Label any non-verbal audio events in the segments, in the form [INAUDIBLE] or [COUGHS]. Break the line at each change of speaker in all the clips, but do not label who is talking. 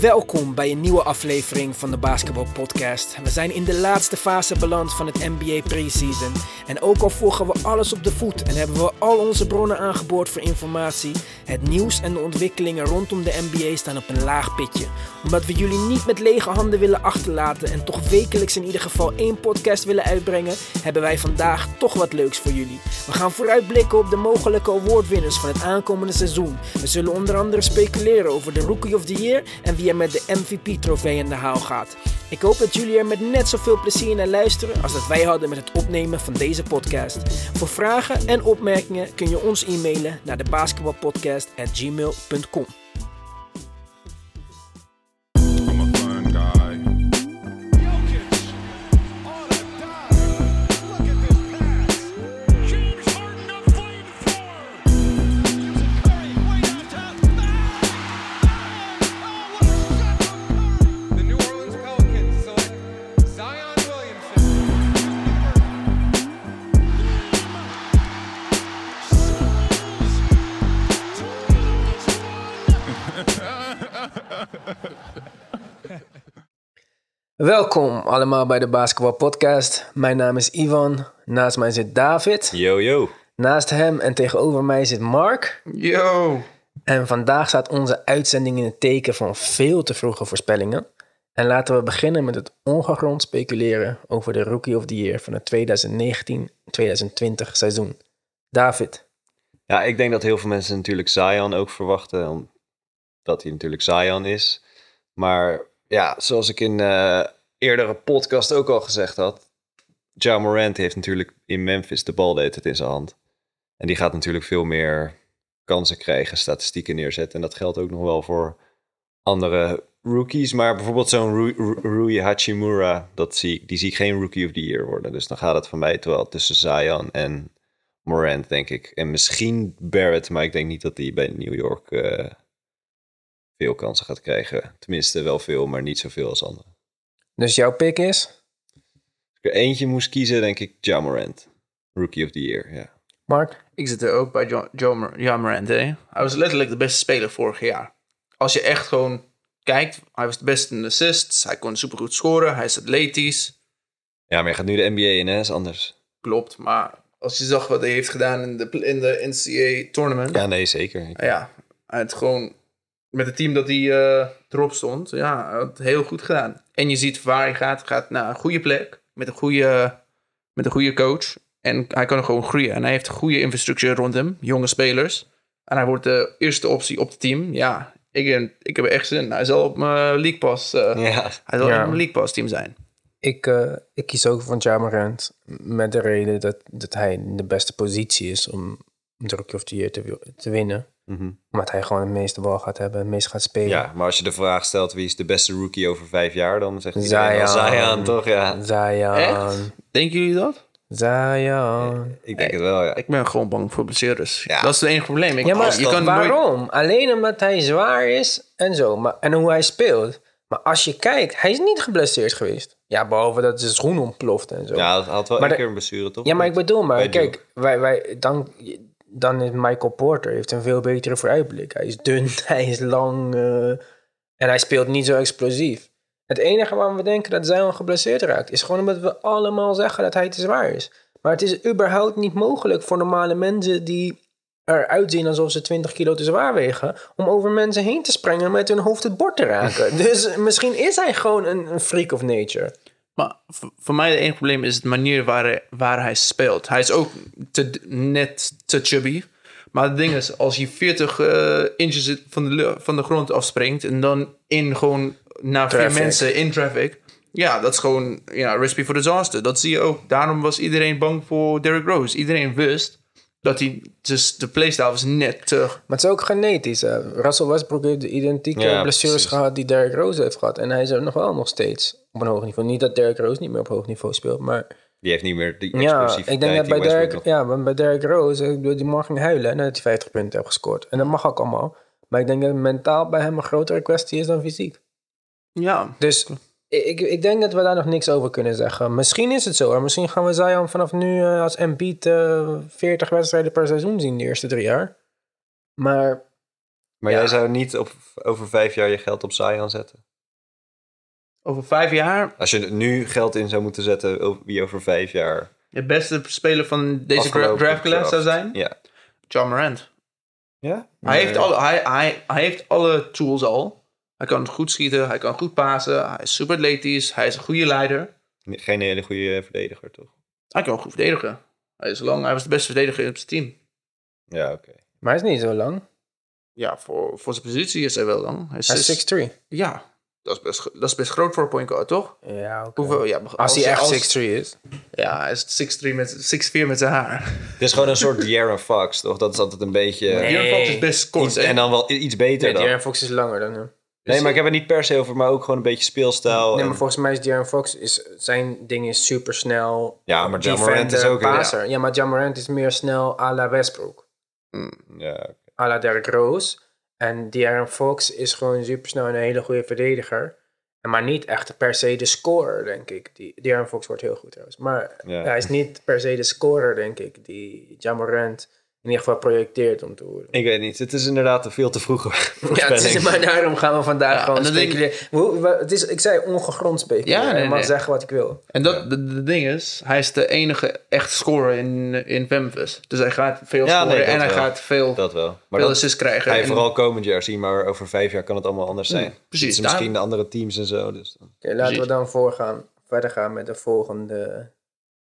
Welkom bij een nieuwe aflevering van de Basketball Podcast. We zijn in de laatste fase beland van het NBA preseason. En ook al volgen we alles op de voet en hebben we al onze bronnen aangeboord voor informatie, het nieuws en de ontwikkelingen rondom de NBA staan op een laag pitje. Omdat we jullie niet met lege handen willen achterlaten en toch wekelijks in ieder geval één podcast willen uitbrengen, hebben wij vandaag toch wat leuks voor jullie. We gaan vooruitblikken op de mogelijke awardwinners van het aankomende seizoen. We zullen onder andere speculeren over de Rookie of the Year en wie er met de MVP-trofee in de haal gaat. Ik hoop dat jullie er met net zoveel plezier naar luisteren als dat wij hadden met het opnemen van deze podcast. Voor vragen en opmerkingen kun je ons e-mailen naar de basketbalpodcast@gmail.com.
I'm a fun guy.
Jokic on a dive. Look at this pass. James Harden to flame Curry way downtown. Oh, what a shot from Curry!
The New Orleans Pelicans select Zion Williamson.
Welkom allemaal bij de Basketbal Podcast. Mijn naam is Ivan. Naast mij zit David.
Yo, yo.
Naast hem en tegenover mij zit Mark.
Yo.
En vandaag staat onze uitzending in het teken van veel te vroege voorspellingen. En laten we beginnen met het ongegrond speculeren over de Rookie of the Year van het 2019-2020 seizoen. David,
Ja, ik denk dat heel veel mensen natuurlijk Zion ook verwachten, omdat hij natuurlijk Zion is. Maar ja, zoals ik in eh eerdere podcast ook al gezegd had, Ja Morant heeft natuurlijk in Memphis de bal de hele tijd in zijn hand. En die gaat natuurlijk veel meer kansen krijgen, statistieken neerzetten. En dat geldt ook nog wel voor andere rookies. Maar bijvoorbeeld zo'n Ru- Ru- Rui Hachimura, dat zie, ik- die zie ik geen Rookie of the Year worden. Dus dan gaat het van mij terwijl tussen Zion en Morant, denk ik. En misschien Barrett, maar ik denk niet dat hij bij New York eh, veel kansen gaat krijgen. Tenminste, wel veel, maar niet zoveel als anderen.
dus jouw pick is?
Als ik er eentje moest kiezen, denk ik Ja Morant. Rookie of the Year, ja.
Mark?
Ik zit er ook bij John, John, John Morant, hè. Hij was letterlijk de beste speler vorig jaar. Als je echt gewoon kijkt, hij was de beste in assists. Hij kon supergoed scoren. Hij is atletisch.
Ja, maar je gaat nu de NBA in, hè? Is anders.
Klopt, maar als je zag wat hij heeft gedaan in de, in de NCAA-tournament.
Ja, nee, zeker. Ik-
Nou ja, hij had gewoon met het team dat hij eh, erop stond, ja, hij had het heel goed gedaan. En je ziet waar hij gaat. Hij gaat naar een goede plek met een goede, met een goede coach. En hij kan er gewoon groeien. En hij heeft een goede infrastructuur rond hem, jonge spelers. En hij wordt de eerste optie op het team. Ja, ik, ben- ik heb er echt zin in. Hij zal op mijn League Pass, eh,
Ja.
hij zal
Ja.
op mijn League Pass team zijn.
Ik, eh, ik kies ook van Ja Morant met de reden dat, dat hij in de beste positie is om de Rookie of the Year te, wi- te winnen.
Mhm.
Omdat hij gewoon het meeste bal gaat hebben, het meest gaat spelen.
ja, maar als je de vraag stelt wie is de beste rookie over vijf jaar, dan zegt iedereen wel
Zion.
Zion, toch? Ja,
Zion.
Ehm.
Echt? Denken jullie dat?
Zion.
ik denk het wel, ja.
Ik ben gewoon bang voor blessures.
Ja.
Dat is het enige probleem. Ik,
Ja, maar
je kan nooit-
waarom? Alleen omdat hij zwaar is en zo. Maar, en hoe hij speelt. Maar als je kijkt, hij is niet geblesseerd geweest. Ja, behalve dat zijn schoen ontploft en zo.
Ja, dat had wel
Maar
een
de-
keer een blessure, toch?
Ja, maar ik bedoel, maar
Bij
kijk, wij, wij, dan, dan is Michael Porter heeft een veel betere vooruitblik. Hij is dun, [LAUGHS] hij is lang eh, en hij speelt niet zo explosief. Het enige waarom we denken dat Zion geblesseerd raakt, is gewoon omdat we allemaal zeggen dat hij te zwaar is. Maar het is überhaupt niet mogelijk voor normale mensen die eruit zien alsof ze 20 kilo te zwaar wegen, om over mensen heen te springen en met hun hoofd het bord te raken. [LAUGHS] dus misschien is hij gewoon een, een freak of nature.
Maar v- voor mij het enige probleem is de manier waar hij, waar hij speelt. Hij is ook te, d- net te chubby. Maar het ding is, als je 40 eh, inches van de, lu- van de grond afspringt... en dan in gewoon naar vier
Traffic.
mensen in traffic... ja, dat is gewoon ja, recipe for disaster. Dat zie je ook. Daarom was iedereen bang voor Derrick Rose. Iedereen wist dat hij... Dus de playstyle was net te...
Maar het is ook genetisch. hè. Russell Westbrook heeft de identieke
Ja,
blessures
precies.
gehad die Derrick Rose heeft gehad. En hij is er nog wel nog steeds op een hoog niveau. Niet dat Derrick Rose niet meer op hoog niveau speelt, maar...
Die heeft niet meer die
Ja,
explosiviteit
ik denk dat
die
bij
Westbrook
Derrick,
nog-
ja, want bij Derrick Rose, ik bedoel, die mag ging huilen nadat hij 50 punten heeft gescoord. En dat mag ook allemaal. Maar ik denk dat het mentaal bij hem een grotere kwestie is dan fysiek.
Ja,
Dus ik, ik denk dat we daar nog niks over kunnen zeggen. Misschien is het zo. hoor. Misschien gaan we Zion vanaf nu eh, als Embiid eh 40 wedstrijden per seizoen zien de eerste drie jaar. Maar
Maar
Ja.
jij zou niet op, over vijf jaar je geld op Zion zetten.
Over vijf jaar
Als je nu geld in zou moeten zetten, over- wie over vijf jaar...
de beste speler van deze dra-
afgelopen
draft class zou
draft.
zijn?
Ja.
John Morant.
ja?
Hij, heeft alle, hij, hij, hij heeft alle tools al. Hij kan goed schieten, hij kan goed pasen, hij is super atletisch, hij is een goede leider.
Geen hele goede verdediger, toch?
Hij kan ook goed verdedigen. Hij is lang, hij was de beste verdediger op zijn team.
Ja, oké.
Maar hij is niet zo lang.
Ja, voor, voor zijn positie is hij wel lang. Hij is
Hij
zes-
is 6'3.
Ja, dat is, best, gro- dat is best groot voor een point guard, toch?
Ja, oké.
Hoeveel, ja,
Als hij
als-
echt 6'3 is.
Ja, hij is 6'3 met 6'4 met zijn haar.
Het is gewoon een soort De'Aaron Fox, toch? Dat is altijd een beetje...
Nee.
Jurgen Fox is best kort.
Iets, en
En
dan wel i- iets beter
Nee,
dan.
De'Aaron Fox is langer dan hem.
Nee, maar ik heb het niet per se over, maar ook gewoon een beetje speelstijl.
Nee,
en-
maar volgens mij is De'Aaron Fox, is, zijn ding is super snel.
Ja, maar Ja Morant is ook...
passer. Ja. maar Ja Morant is meer snel à la Westbrook.
Ja,
à la Derrick Rose. En De'Aaron Fox is gewoon supersnel en een hele goede verdediger. En Maar niet echt per se de scorer, denk ik. Die, De'Aaron Fox wordt heel goed trouwens. Maar
Ja.
hij is niet per se de scorer, denk ik. Die Ja Morant in ieder geval projecteert om te worden.
Ik weet niet. Het is inderdaad een veel te vroege
Ja, het is,
voorspelling.
maar daarom gaan we vandaag
Ja,
gewoon
en dan denk ik-
speculeren. Hoe- wa- het is, ik zei ongegrond speculeren.
Ja, nee,
ik mag
nee.
zeggen wat ik wil.
dat, de, de ding is, hij is de enige echt scorer in, in Memphis. Dus hij gaat veel
Ja, nee,
scoren
dat
en hij
wel.
gaat veel,
Dat wel. Maar
veel
dat
assists krijgen.
ga je
En-
vooral komend jaar zien, maar over vijf jaar kan het allemaal anders zijn.
precies,
Het is
daar-
Misschien de andere teams en zo. Dus dan-
Oké, laten we
Precies.
dan voorgaan, verder gaan met de volgende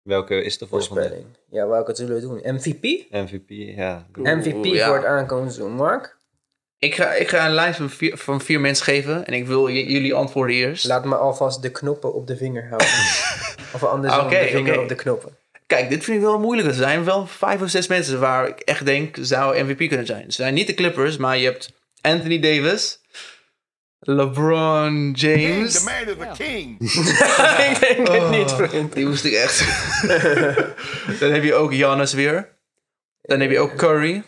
Welke is de volgende?
voorspelling. Ja, welke zullen we doen? MVP?
MVP, ja.
MVP
ja.
voor het aankomend seizoen. Mark,
Ik, ga, ik ga een lijst van vier, van vier mensen geven en ik wil j- jullie antwoorden eerst.
laat me alvast de knoppen op de vinger
[LAUGHS]
houden. of andersom,
Oké,
de vinger
oké.
op de
[LAUGHS]
knoppen.
Kijk, dit vind ik wel moeilijk. Er zijn wel vijf of zes mensen waar ik echt denk zou MVP kunnen zijn. Ze zijn niet de Clippers, maar je hebt Anthony Davis, LeBron James.
The man is a king.
ik denk het niet, vriend.
Die moest ik
[LAUGHS]
echt. [LAUGHS] Dan heb je ook Giannis weer. Dan heb je ook Curry.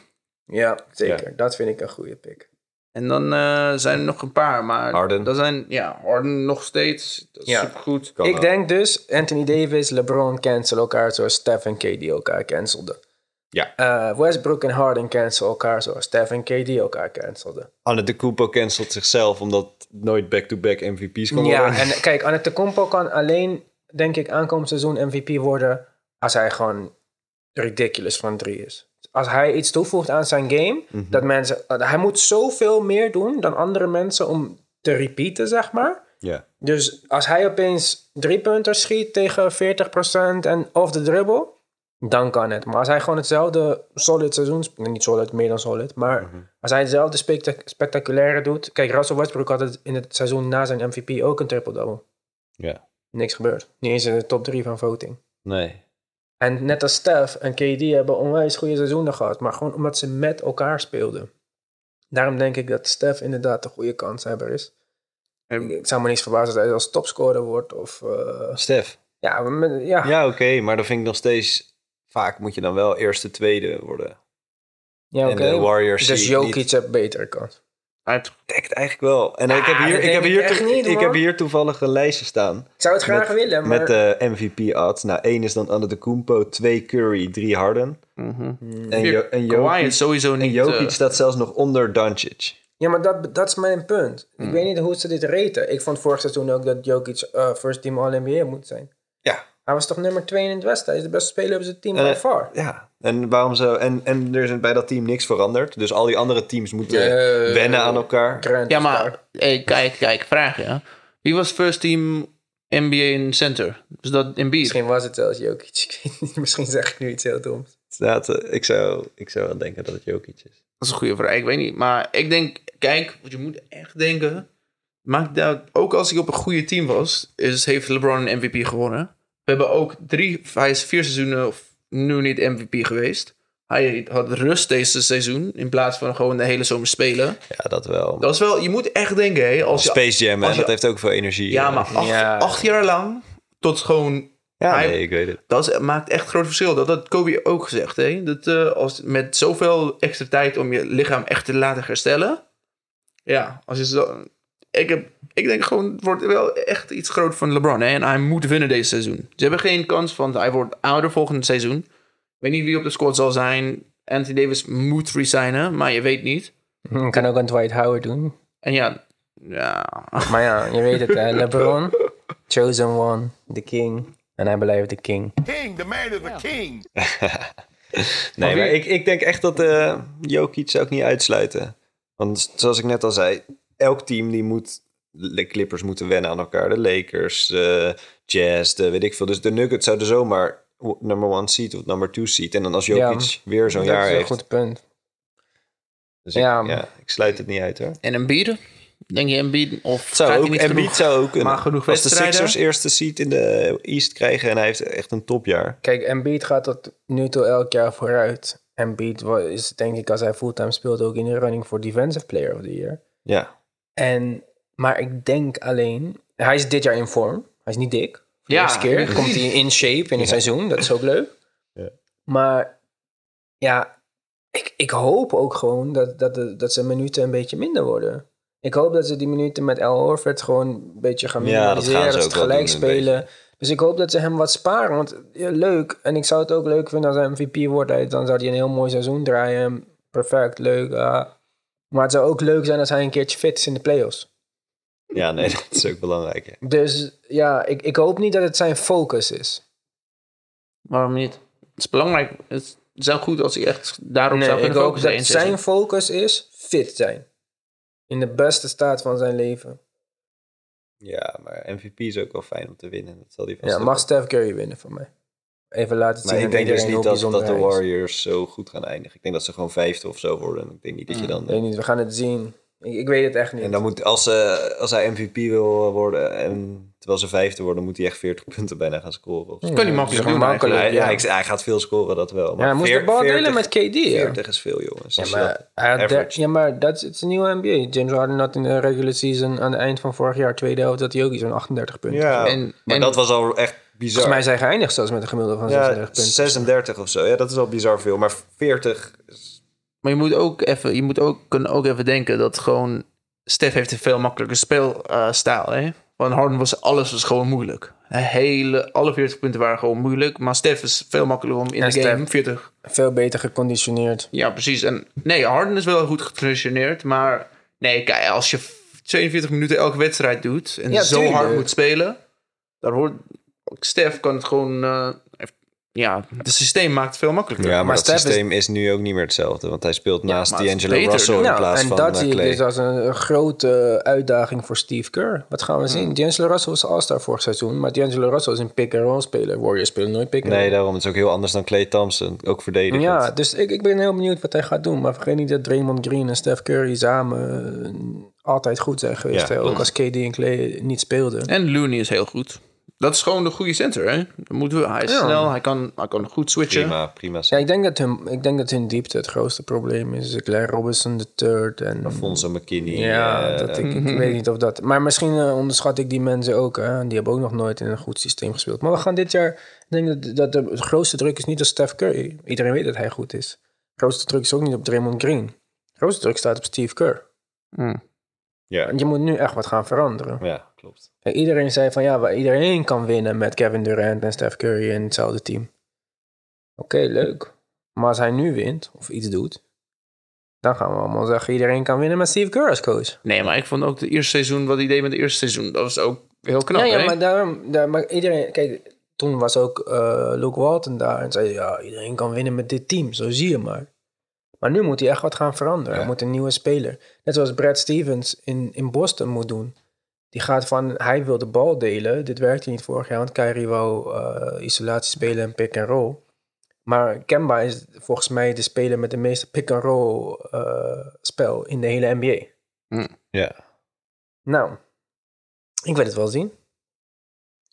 Ja, zeker. Dat vind ik een goede pick.
En dan eh, zijn er nog een paar. Maar
Harden.
Dat zijn, ja, Harden nog steeds. Dat is
Ja.
supergoed.
Kan
Ik
wel.
denk dus Anthony Davis, LeBron cancelen elkaar zoals Steph en KD elkaar cancelden.
Ja.
Eh, Westbrook en Harden cancelen elkaar zoals Steph en KD elkaar cancelden.
Anne de Kupo cancelt zichzelf omdat nooit back-to-back MVP's kan worden.
Ja, en kijk, Antetokounmpo kan alleen, denk ik, aankomend seizoen MVP worden als hij gewoon ridiculous van drie is. Als hij iets toevoegt aan zijn game, dat mensen... Hij moet zoveel meer doen dan andere mensen om te repeaten, zeg
[LAUGHS]
maar.
Ja.
Dus als hij opeens drie punters schiet tegen 40% en off de dribble, dan kan het. Maar als hij gewoon hetzelfde solid seizoen, sp- nee, niet solid, meer dan solid, maar als hij hetzelfde spectac- spectaculaire doet. Kijk, Russell Westbrook had het in het seizoen na zijn MVP ook een triple-double.
ja.
Niks gebeurd. Niet eens in de top 3 van voting.
Nee.
En net als Steph en KD hebben onwijs goede seizoenen gehad, maar gewoon omdat ze met elkaar speelden. Daarom denk ik dat Steph inderdaad de goede kanshebber is.
En-
Ik zou me niet verbazen als hij als topscorer wordt of eh,
Stef.
ja, we met- ja. ja.
Ja, oké, maar dan vind ik nog steeds... Vaak moet je dan wel eerste, tweede worden.
oké.
En de Warriors zie
Dus
ik
Jokic
niet.
heeft beter kans.
Hij heeft-
Dekt eigenlijk wel. En ik heb
Ah,
hier,
dat
ik
denk
heb
ik
hier,
echt
toe-
niet,
ik
hoor.
heb hier toevallig een lijstje staan.
Ik zou het graag
Met-
willen, maar...
Met de MVP-odds. Nou, één is dan Anne de Kumpo, twee Curry, drie Harden.
Mhm.
En, jo en
Kawhi is
Jokic,
sowieso
en
niet...
Jokic
eh,
staat zelfs nog onder Doncic.
Ja, maar dat, dat is mijn punt.
Hmm.
Ik weet niet hoe ze dit reten. Ik vond vorig seizoen ook dat Jokic eh, first team All-NBA moet zijn.
Ja.
Hij was toch nummer 2 in het Westen? Hij is de beste speler op zijn team by
Eh,
far.
Ja. En, waarom zo, en, en er is bij dat team niks veranderd. Dus al die andere teams moeten
Eh,
wennen aan elkaar.
Grant
Ja,
is
maar
daar.
hey, kijk, kijk, vraag ja. Wie was first team NBA in center? Dus dat Embiid?
Misschien was het zelfs Jokic. [LAUGHS] Ik weet niet, Misschien zeg ik nu iets heel doms.
Staat, eh, ik, zou, ik zou wel denken dat het Jokic is.
Dat is een goede vraag, ik weet niet. Maar ik denk, kijk, want je moet echt denken. Maakt dat, ook als hij op een goede team was, is, heeft LeBron een MVP gewonnen. We hebben ook drie, hij is vier seizoenen of nu niet MVP geweest. Hij had rust deze seizoen in plaats van gewoon de hele zomer spelen.
Ja, dat wel.
Dat is wel, je moet echt denken, hè, als je,
Space Jam, hè,
als je-
dat heeft ook veel energie.
ja,
eh.
maar acht,
Ja.
acht jaar lang tot gewoon
Ja,
hij-
nee, ik weet het.
Dat is- maakt echt groot verschil. Dat had Kobe ook gezegd. Hè? Dat eh, als, met zoveel extra tijd om je lichaam echt te laten herstellen. Ja, als je zo. Ik, heb, ik denk gewoon, het wordt wel echt iets groot van LeBron. Hè? En hij moet winnen deze seizoen. Ze hebben geen kans, want hij wordt ouder volgend seizoen. Ik weet niet wie op de squad zal zijn. Anthony Davis moet resignen, maar je weet niet.
Hm, Kan ook een Dwight Howard doen.
En ja, ja. [LAUGHS]
Maar ja, je weet het, hè.
[LAUGHS]
LeBron, Chosen One, The King. En hij blijft de King.
King, the man is a king.
Nee,
wie-
maar ik, ik denk echt dat eh Jokic zou ik niet uitsluiten. Want zoals ik net al zei, elk team die moet... De Clippers moeten wennen aan elkaar. De Lakers, eh Jazz, de, weet ik veel. Dus de Nuggets zouden zomaar number one seed of number two seed. En dan als Jokic weer zo'n
dat
jaar
is een
heeft.
goed punt.
Dus ik,
Ja.
ja. ik sluit het niet uit hoor.
En Embiid? Denk je Embiid? Of
Het zou
gaat
ook,
hij niet
Embiid
genoeg?
zou ook kunnen.
maar genoeg
Als de
wedstrijden?
Sixers eerste seed in de East krijgen en hij heeft echt een topjaar.
Kijk, Embiid gaat tot nu toe elk jaar vooruit. Embiid wa- is denk ik als hij fulltime speelt ook in de running voor Defensive Player of the Year.
Ja,
En, maar ik denk alleen... Hij is dit jaar in vorm. Hij is niet dik. Voor De
Ja.
eerste keer komt hij in shape in het seizoen. Dat is ook leuk. Maar ja, ik, ik hoop ook gewoon dat, dat, de- dat zijn minuten een beetje minder worden. Ik hoop dat ze die minuten met El Horford gewoon een beetje gaan
Ja, dat gaan ze
minimaliseren. dat ze
ook wel
gelijk
doen, een
spelen. Dus ik hoop dat ze hem wat sparen. Want ja, leuk, en ik zou het ook leuk vinden als hij MVP wordt. Hij- Dan zou hij een heel mooi seizoen draaien. Perfect, leuk. ah. Maar het zou ook leuk zijn als hij een keertje fit is in de playoffs.
ja nee, [LAUGHS] dat is ook belangrijk. ja.
Dus ja, ik, ik hoop niet dat het zijn focus is.
Waarom niet? Het is belangrijk. Het zou goed als hij echt daarop zou
Nee, ik
kunnen
hoop
focussen.
dat
in het
zijn focus is fit zijn. In de beste staat van zijn leven.
Ja, maar MVP is ook wel fijn om te winnen. Dat zal hij vast
Ja,
ook
mag Steph Curry winnen van mij. Even laten zien
Maar ik
aan
denk dus
iedereen
niet
hoe
dat, dat
bijzonder
de
hij is.
Warriors zo goed gaan eindigen. Ik denk dat ze gewoon vijfde of zo worden. Mm. Ik denk niet dat je dan...
Ik weet niet, we gaan het zien. Ik, ik weet het echt niet.
En dan moet, als, ze- als hij MVP wil worden, en terwijl ze vijfde worden, moet hij echt 40 [LAUGHS] punten bijna gaan scoren. Of zo.
kan hij
Ja, het is
makkelijk
gewoon
doen eigenlijk.
makkelijk,
hij,
ja.
hij, hij gaat veel scoren, dat wel.
Ja, hij moest de
veer-
bal delen met KD. Ja.
40 is veel, jongens.
Ja,
Als je
maar,
dat-
hij had der-
average.
ja, maar dat is het is een nieuwe NBA. James Harden had in de regular season aan het eind van vorig jaar, tweede helft, dat hij ook iets van 38 punten.
Ja,
En-
maar
en-
dat was al echt bizar.
Volgens mij zijn hij geëindigd zelfs met een gemiddelde van
ja,
36 punten.
36 of zo. Ja, dat is al bizar veel. Maar 40...
Maar je moet ook even, je moet ook, kunnen ook even denken dat gewoon Stef heeft een veel makkelijker speelstijl. hè? Van Harden was alles was gewoon moeilijk. Een Hele, alle 40 punten waren gewoon moeilijk. Maar Stef is veel makkelijker om in
Ja,
de game
Stef-
40.
Veel beter geconditioneerd.
Ja, precies. En nee, Harden is wel goed geconditioneerd. Maar nee, kijk, als je 42 minuten elke wedstrijd doet en
Ja,
zo
tuurlijk.
hard moet spelen, dan hoort Stef kan het gewoon. eh, heeft- ja, het systeem maakt het veel makkelijker.
Ja, maar,
Maar
dat
Steph is-
systeem is... nu ook niet meer hetzelfde. Want hij speelt naast
maar het is
D'Angelo
beter.
Russell in
Nou,
plaats
en
van
dat
eh,
zie ik
Clay.
dus als een, een grote uitdaging voor Steve Kerr. Wat gaan
Hmm.
we zien? D'Angelo Russell was All-Star vorig seizoen, maar D'Angelo Russell is een pick-and-roll speler. Warriors spelen nooit pick-and-roll.
Nee, daarom. Het is ook heel anders dan Clay Thompson. Ook verdedigend.
ja, dus ik, ik ben heel benieuwd wat hij gaat doen. Maar vergeet niet dat Draymond Green en Steph Curry samen eh, altijd goed zijn geweest.
Ja,
hè? Ook
klopt.
als KD en Clay niet speelden.
En Looney is heel goed. Dat is gewoon de goede center, hè? Dan moeten we, hij is
Ja.
snel, hij kan, hij kan goed switchen.
Prima, prima.
Ja, ik denk, dat hun, ik denk dat hun diepte het grootste probleem is. Dus Clay Robinson de third en...
Alfonso McKinney.
Ja,
eh,
dat ik, ik weet niet of dat. Maar misschien eh, onderschat ik die mensen ook. Hè? Die hebben ook nog nooit in een goed systeem gespeeld. Maar we gaan dit jaar. Ik denk dat, dat de grootste druk is niet op Steph Curry. Iedereen weet dat hij goed is. De grootste druk is ook niet op Draymond Green. De grootste druk staat op Steve Kerr.
ja,
Je moet nu echt wat gaan veranderen.
ja, klopt.
Kijk, iedereen zei van ja, maar iedereen kan winnen met Kevin Durant en Steph Curry in hetzelfde team. Oké, leuk. Maar als hij nu wint of iets doet, dan gaan we allemaal zeggen iedereen kan winnen met Steve Kerr als coach.
Nee, maar ik vond ook de eerste seizoen, wat hij deed met de eerste seizoen, dat was ook heel knap,
ja, ja,
hè?
maar daarom, daar, maar iedereen, kijk, toen was ook eh, Luke Walton daar en zei, ja, iedereen kan winnen met dit team, zo zie je maar. Maar nu moet hij echt wat gaan veranderen. Hij moet een nieuwe speler. Net zoals Brad Stevens in, in Boston moet doen. Die gaat van, hij wil de bal delen. Dit werkte niet vorig jaar, want Kyrie wou eh, isolatie spelen en pick and roll. Maar Kemba is volgens mij de speler met de meeste pick and roll eh, spel in de hele NBA.
Hm,
Ja.
Nou, ik wil het wel zien.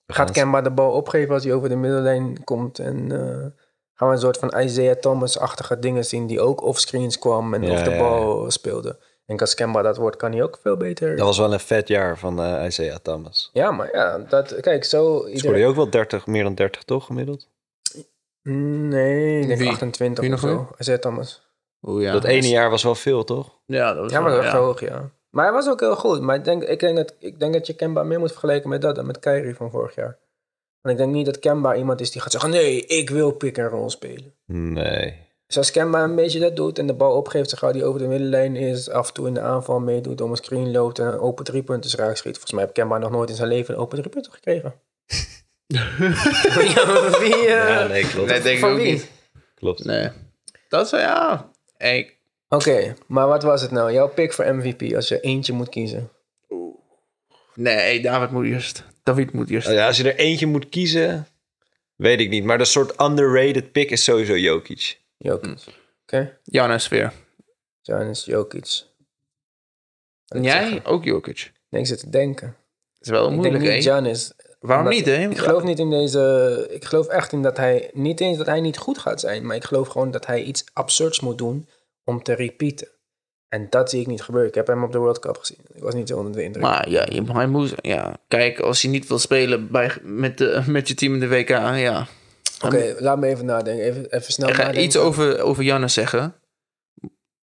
Gaat
gaan
Kemba de bal opgeven als hij over de middellijn komt? En eh, gaan we een soort van Isaiah Thomas-achtige dingen zien die ook offscreens kwam en
Ja,
of de
ja,
bal speelde? Ik denk als Kemba dat wordt, kan hij ook veel beter.
Dat was wel een vet jaar van eh, Isaiah Thomas.
Ja, maar ja, dat, kijk, zo...
Scoorde je
Iedereen,
ook wel 30, meer dan 30 toch gemiddeld?
nee, ik denk
Wie?
28
Wie
of
nog
zo. Isaiah Thomas.
Oh, ja.
Dat ene jaar was wel veel, toch?
Ja, dat was
Ja, maar
wel-
dat was
ja.
wel hoog, ja. Maar hij was ook heel goed. Maar ik denk, ik, denk dat, ik denk dat je Kemba meer moet vergelijken met dat dan met Kyrie van vorig jaar. Want ik denk niet dat Kemba iemand is die gaat zeggen... Nee, ik wil pick-and-roll spelen.
Nee.
Dus als Kemba een beetje dat doet en de bal opgeeft, zo gauw die over de middenlijn is, af en toe in de aanval meedoet, om een screen loopt en een open drie punten raak schiet. Volgens mij heeft Kemba nog nooit in zijn leven een open drie punten gekregen. ja, maar wie, eh,
Ja, nee, klopt.
Nee, denk ik
van
ook
wie?
niet.
klopt.
Nee. Dat is wel, ja. Ik,
Oké, maar wat was het nou? Jouw pick voor MVP als je eentje moet kiezen.
nee, David moet eerst. David moet eerst.
Oh
Oh,
Ja, als je er eentje moet kiezen, weet ik niet. Maar dat soort underrated pick is sowieso Jokic.
Jokic. Oké,
Janis weer.
Oh, Giannis Jokic.
En jij? Ook Jokic.
Nee, ik zit te denken.
Dat is wel
ik denk
moeilijk, hè?
niet Giannis.
Waarom
Omdat-
niet, hè?
Ik geloof niet in deze... Ik geloof echt in dat hij... Niet eens dat hij niet goed gaat zijn, maar ik geloof gewoon dat hij iets absurds moet doen om te repeaten. En dat zie ik niet gebeuren. Ik heb hem op de World Cup gezien. Ik was niet zo onder de indruk.
Maar ja, je- hij moet... Ja, kijk, als je niet wil spelen bij, met, de, [LAUGHS] met je team in de WK, ja.
Oké, laat me even nadenken. Even, even snel
Ik ga
nadenken.
iets over, over Janne zeggen.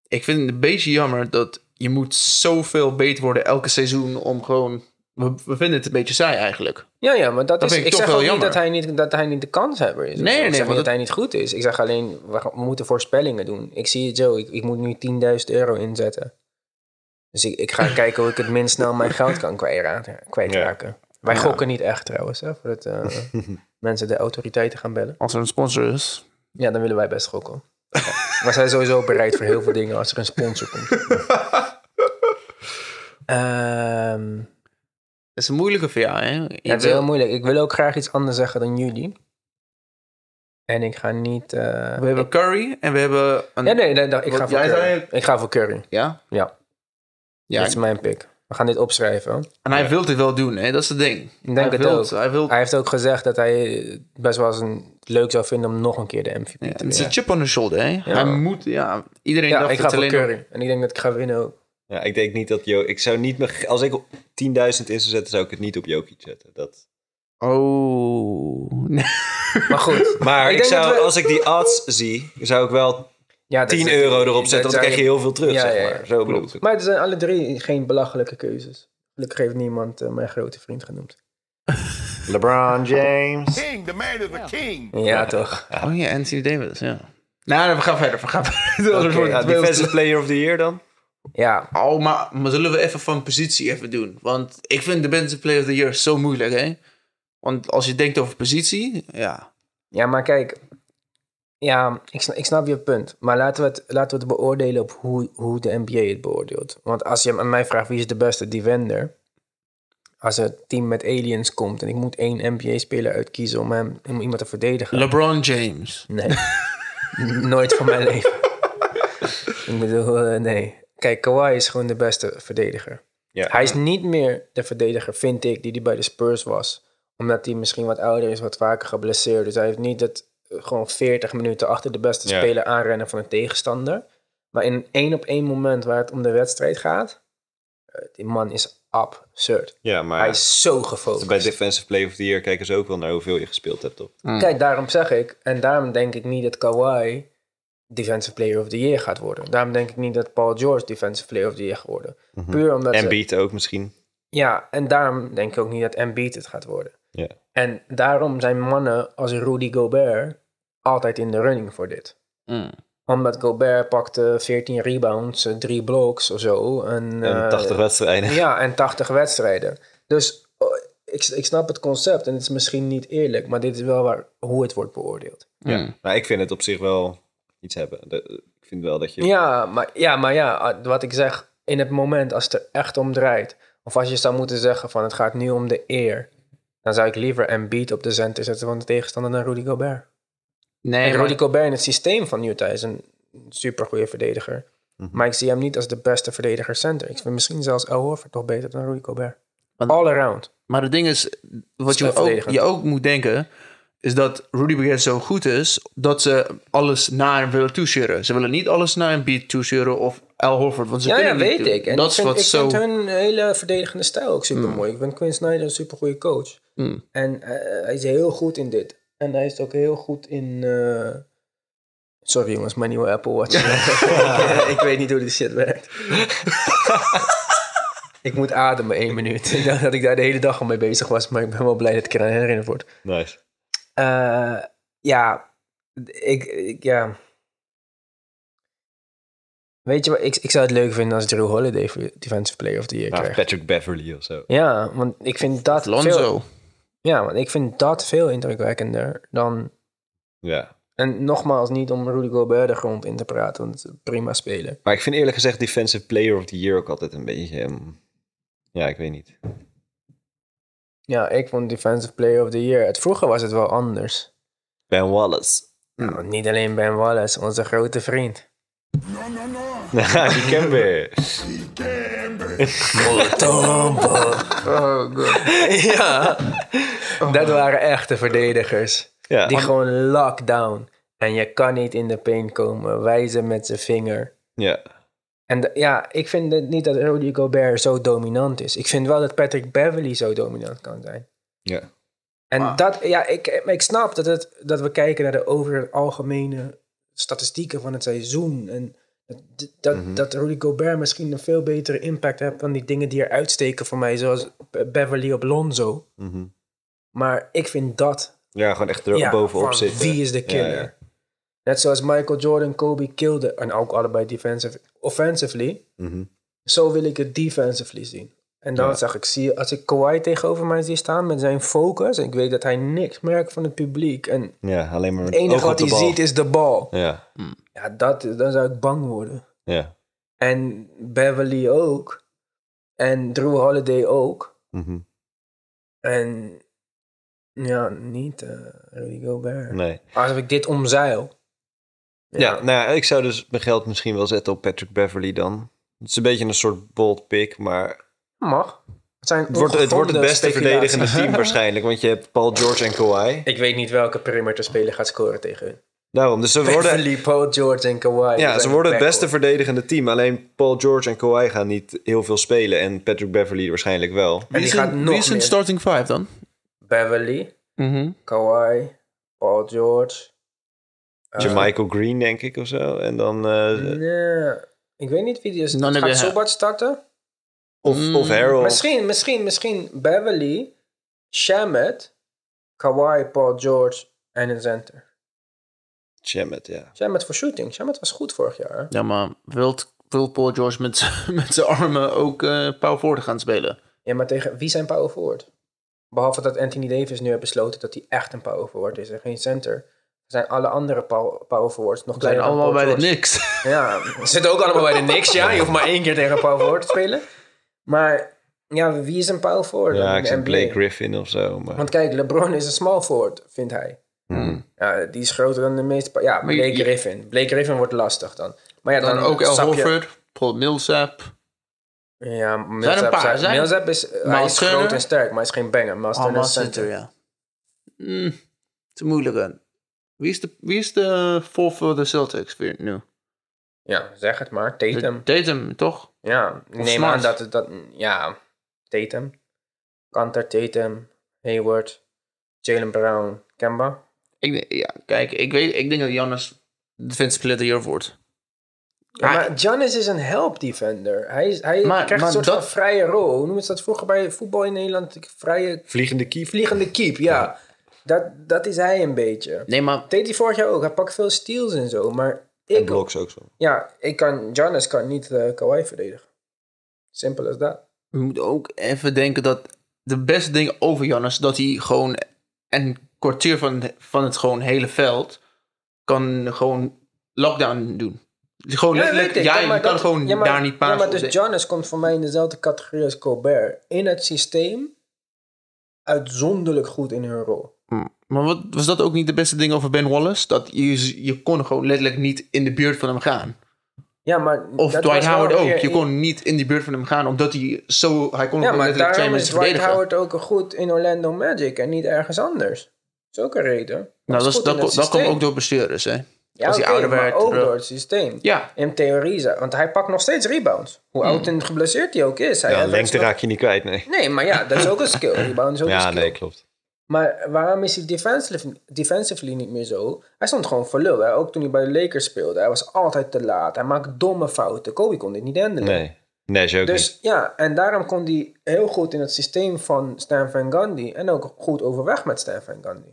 Ik vind het een beetje jammer dat je moet zoveel beter worden elke seizoen om gewoon... We, we vinden het een beetje saai eigenlijk.
Ja, ja, maar dat,
Dat
is.
vind ik
ik
toch
zeg
wel
ook niet
jammer.
dat hij niet dat hij niet de kanshebber is. of
Nee,
zo.
nee,
ik zeg
want
niet dat
dat-
hij niet goed is. Ik zeg alleen we, gaan- we moeten voorspellingen doen. Ik zie het zo. Ik, ik moet nu 10.000 euro inzetten. Dus ik, ik
[LAUGHS]
ga kijken hoe ik het minst snel mijn geld kan kwijtraken. kwijtraken. Wij gokken niet echt trouwens, hè,
[LAUGHS]
voordat eh, mensen de autoriteiten gaan bellen.
Als er een sponsor is.
Ja, dan willen wij best gokken. Ja. We zijn sowieso bereid voor heel veel dingen als er een
[LAUGHS]
sponsor komt. Ehm
Dat is een moeilijke voor jou, hè? Je
ja, het is
wil-
heel moeilijk. Ik wil ook graag iets anders zeggen dan jullie. En ik ga niet. eh,
We hebben Curry en we hebben... Een,
Ja, nee, nee, nee, ik ga
Wat
voor
jij
Curry.
zei-
Ik ga voor Curry.
Ja?
Ja,
Ja,
dat is mijn pick. We gaan dit opschrijven. hoor.
en hij wil dit wel doen, hè? Dat is het ding.
Ik denk
hij
het
wil,
ook.
Hij wil...
Hij heeft ook gezegd dat hij eh, best wel eens een, het leuk zou vinden om nog een keer de MVP
Ja,
te
het is
winnen.
een chip on the shoulder, hè? Hij moet... Ja, iedereen
Ja,
dacht
ik ga
het
voor
alleen...
Curry. En ik denk dat ik ga winnen ook.
Ja, ik denk niet dat Jo... Ik zou niet... mijn- Als ik 10.000 in zou zetten, zou ik het niet op Jokic zetten. Dat...
Oh... [LAUGHS] Nee.
Maar goed.
[LAUGHS]
Maar
Ik
ik
denk
zou,
dat we-
als ik die odds zie, zou ik wel
Ja, dat
10
is-
euro erop zetten.
dat
Want dan krijg je
zou
heel veel terug,
Ja, ja,
zeg
ja,
maar. Zo bedoel ik. het.
Maar het zijn alle drie geen belachelijke keuzes. Gelukkig heeft niemand eh, mijn grote vriend genoemd.
LeBron James.
King, the man is a king.
Ja, toch?
Oh ja, Anthony Davis, ja. Nou, we gaan verder. We gaan verder. [LAUGHS] Anders wordt
Ja,
het wel-
defensive player of the year dan?
Ja,
Oh, maar, maar zullen we even van positie even doen? Want ik vind de beste player of the year zo moeilijk, hè? Want als je denkt over positie, ja.
Ja, maar kijk. Ja, ik snap, ik snap je punt. Maar laten we het, laten we het beoordelen op hoe, hoe de NBA het beoordeelt. Want als je aan mij vraagt wie is de beste defender... Als het team met aliens komt en ik moet één NBA-speler uitkiezen om, hem, om iemand te verdedigen...
LeBron James.
nee. Nooit van mijn leven. ik bedoel, eh, nee. Kijk, Kawhi is gewoon de beste verdediger.
Ja.
Hij is niet meer de verdediger, vind ik, die hij bij de Spurs was. Omdat hij misschien wat ouder is, wat vaker geblesseerd. Dus hij heeft niet dat eh, gewoon 40 minuten achter de beste
Ja.
speler aanrennen van een tegenstander. Maar in een één op één moment waar het om de wedstrijd gaat, eh, die man is absurd.
Ja, maar
Hij is zo gefocust.
bij defensive player of the year kijken ze ook wel naar hoeveel je gespeeld hebt op.
Kijk, daarom zeg ik, en daarom denk ik niet dat Kawhi Defensive Player of the Year gaat worden. Daarom denk ik niet dat Paul George Defensive Player of the Year gaat worden. Puur omdat
En
ze-
beat ook misschien.
Ja, en daarom denk ik ook niet dat Embiid het gaat worden.
Ja.
En daarom zijn mannen als Rudy Gobert altijd in de running voor dit. Omdat Gobert pakte 14 rebounds, eh, drie blocks of zo. En,
En
eh,
80 wedstrijden.
ja, en 80 wedstrijden. Dus oh, ik, ik snap het concept en het is misschien niet eerlijk, maar dit is wel waar, hoe het wordt beoordeeld.
Ja. Maar ik vind het op zich wel iets hebben. De- Ik vind wel dat je...
Ja, maar ja, maar ja ah, wat ik zeg, in het moment als het er echt om draait, of als je zou moeten zeggen van het gaat nu om de eer, dan zou ik liever Embiid op de center zetten van de tegenstander dan Rudy Gobert.
Nee,
en
maar-
Rudy Gobert in het systeem van Utah is een supergoeie verdediger. Maar ik zie hem niet als de beste verdediger center. Ik vind misschien zelfs El Horford toch beter dan Rudy Gobert.
Want-
All around.
maar het ding is, wat je
Snel
ook,
verdedigend.
je ook moet denken, is dat Rudy Gobert zo goed is, dat ze alles naar hem willen toesturen. Ze willen niet alles naar een beat toesturen of Al Horford, want ze
Ja, ja
kunnen niet
weet
doen.
ik. En
dat
ik
is
vind,
wat
ik
zo...
vind hun hele verdedigende stijl ook super mooi. Ik vind Quinn Snyder een super goede coach.
Mm.
En eh, hij is heel goed in dit. En hij is ook heel goed in. eh, Sorry jongens, mijn nieuwe Apple Watch.
[LAUGHS]
[LAUGHS] ik, ik weet niet hoe dit shit werkt. [LAUGHS] ik moet ademen één minuut. [LAUGHS] Ik dacht dat ik daar de hele dag al mee bezig was, maar ik ben wel blij dat ik eraan herinnerd word.
Nice.
Eh, ja, ik, ik- ja. Weet je wat, ik, ik zou het leuk vinden als Drew Holiday voor Defensive Player of the Year
Nou,
krijgt.
Patrick Beverly of zo.
Ja, want ik vind dat veel...
Lonzo.
Ja, want ik vind dat veel indrukwekkender dan...
Ja.
En nogmaals, niet om Rudy Gobert de grond in te praten, want het is een prima speler.
Maar ik vind eerlijk gezegd Defensive Player of the Year ook altijd een beetje... ehm, ja, ik weet niet.
Ja, ik vond Defensive Player of the Year. Het, vroeger was het wel anders.
Ben Wallace. [LAUGHS]
Nou, want niet alleen Ben Wallace, onze grote vriend.
die ken weer.
Oh god.
ja, dat waren echte verdedigers.
Ja.
Die gewoon lockdown. En je kan niet in de paint komen, wijzen met zijn vinger.
Ja.
En d- ja, ik vind het niet dat Rudy Gobert zo dominant is. Ik vind wel dat Patrick Beverly zo dominant kan zijn.
Ja.
En
Maar-
dat, ja, ik, ik snap dat, het, dat we kijken naar de over het algemene statistieken van het seizoen. En dat, dat,
Mhm.
Mhm.
dat Rudy Gobert misschien een veel betere impact heeft dan die dingen die eruit steken voor mij, zoals Be- Beverly op Lonzo.
Mhm.
Maar ik vind dat
ja, gewoon echt er
ja,
bovenop
van
zitten.
Wie is de killer?
Ja, ja.
Net zoals Michael Jordan, Kobe kilden en ook allebei defensive, offensively.
Mhm.
Zo wil ik het defensively zien. En dan
Ja.
zag ik, zie, als ik Kawhi tegenover mij zie staan met zijn focus, en ik weet dat hij niks merkt van het publiek. En
Ja, alleen maar
het
met oog
enige
op
wat
de
hij
bal.
ziet is de bal.
Ja,
Ja, dat, dan zou ik bang worden.
ja.
En Beverly ook. En Drew Holiday ook.
Mhm.
En ja, niet eh Rudy Gobert.
Nee.
Als ik dit omzeil.
Ja, nou ja, ik zou dus mijn geld misschien wel zetten op Patrick Beverly dan. Het is een beetje een soort bold pick, maar
Mag. Het, zijn
het wordt het, wordt het
ongegronde
beste
speculaties.
verdedigende
[LAUGHS]
team waarschijnlijk. Want je hebt Paul George en Kawhi.
Ik weet niet welke perimeter speler gaat scoren tegen hun.
Daarom, dus ze worden,
Beverly, Paul George en Kawhi.
ja,
Dat
ze
zijn
worden het
backcourt.
beste verdedigende team. Alleen Paul George en Kawhi gaan niet heel veel spelen. En Patrick Beverly waarschijnlijk wel.
Wie is,
gaat
een,
nog
wie is een
meer. Mhm.
starting five dan?
Beverly, Kawhi, Paul George. Eh.
Jermichael Green, denk ik, of zo. En dan... eh,
Mm. Nee, ik weet niet wie die is.
Dan heb
gaat
je-
Sobat starten?
of, of Harold.
Misschien, misschien, misschien Beverly, Shamet, Kawhi, Paul George en een center.
Shamet, ja.
Shamet voor shooting. Shamet was goed vorig jaar. hè?
Ja, maar wilt, wil Paul George met, z'n- [LAUGHS] met zijn armen ook eh power forward gaan spelen?
Ja, maar tegen wie zijn power forward? Behalve dat Anthony Davis nu heeft besloten dat hij echt een power forward is en geen center. Zijn alle andere pow- power forwards nog
We zijn
kleiner dan
allemaal bij
Paul
de
George.
niks.
Ja, ze zitten ook allemaal bij de Knicks, ja. Je hoeft maar één keer tegen een power forward te spelen. Maar ja, wie is een power forward
Ja,
in
ik
de
zeg
NBA?
Blake Griffin of zo. Maar,
Want kijk, LeBron is een small forward, vindt hij. Ja, die is groter dan de meeste... pa- Ja,
Maar je-
Blake
je-
Griffin. Blake Griffin wordt lastig dan. Maar ja, dan,
Dan ook El
stap je-
Horford, Paul Millsap.
Ja, Millsap,
paar,
zijn-
zijn-
Millsap is, eh, hij
Miles
is
Turner. Oh,
groot en sterk, maar hij is geen banger. Miles Turner is center.
ja. Mm, het is moeilijk. hè. Wie is de, wie is de voor voor de Celtics weer nu?
Ja, zeg het maar. Tatum.
Tatum, toch?
Ja, ik neem
Smart.
aan dat het dat... Ja, Tatum. Kanter, Tatum, Hayward, Jalen Brown, Kemba.
Ik, denk- ja, kijk, ik, weet, ik denk dat Jannes defensive player of the year wordt.
Ja,
Ah.
maar Giannis is een help defender. Hij, is- hij
Maar-
krijgt
maar
een soort
dat-
van vrije rol. Hoe noemen ze dat vroeger bij voetbal in Nederland? Vrije
Vliegende kief.
vliegende keep, ja. Dat, dat is hij een beetje.
Nee, maar
Deed hij vorig jaar ook. Hij pakt veel steals en zo. Maar
En
ik,
Blocks ook zo.
ja, ik kan, Giannis kan niet eh Kawhi verdedigen. Simpel als dat.
we moeten ook even denken dat de beste ding over Jannes dat hij gewoon een kwartier van, van het gewoon hele veld kan gewoon lockdown doen. Gewoon
Ja,
letterlijk,
weet ik.
ja,
Ja,
je
maar
kan
dat-
gewoon
ja, maar-
daar niet
Ja,
passen.
maar dus Giannis komt voor mij in dezelfde categorie als Colbert. In het systeem uitzonderlijk goed in hun rol.
Maar wat, was dat ook niet de beste ding over Ben Wallace? Dat je, je kon gewoon letterlijk niet in de buurt van hem gaan.
Ja, maar
Of
dat
Dwight
was wel
Howard ook.
weer
Je
in-
kon niet in de buurt van hem gaan, omdat hij zo... Hij kon
Ja,
gewoon
maar
letterlijk twee
daarom is
mensen
Dwight
verdedigen.
Howard ook goed in Orlando Magic en niet ergens anders. Dat is ook een reden. Hij
nou,
is
dat, is-
goed
dat,
in het
komt- dat komt
systeem.
ook door bestuurders, hè.
ja,
als hij
oké,
ouder
maar
werd,
ook
terug.
door het systeem.
Ja. Hmm.
In theorie, is hij- want hij pakt nog steeds rebounds. Hoe oud en geblesseerd hij ook is. Hij
Ja,
heeft
lengte
nog-
raak je niet kwijt, nee.
Nee, maar ja, dat is ook een
[COUGHS]
skill. Rebound is ook een
Ja,
skill.
nee, klopt.
Maar waarom is hij defensive, defensively niet meer zo? Hij stond gewoon voor lul. Hè? Ook toen hij bij de Lakers speelde. Hij was altijd te laat. Hij maakt domme fouten. Kobe kon dit niet handelen.
Nee. Nash ook
Dus ja, en daarom kon hij heel goed in het
Hmm.
systeem van Stan Van Gundy. En ook goed overweg met Stan Van Gundy.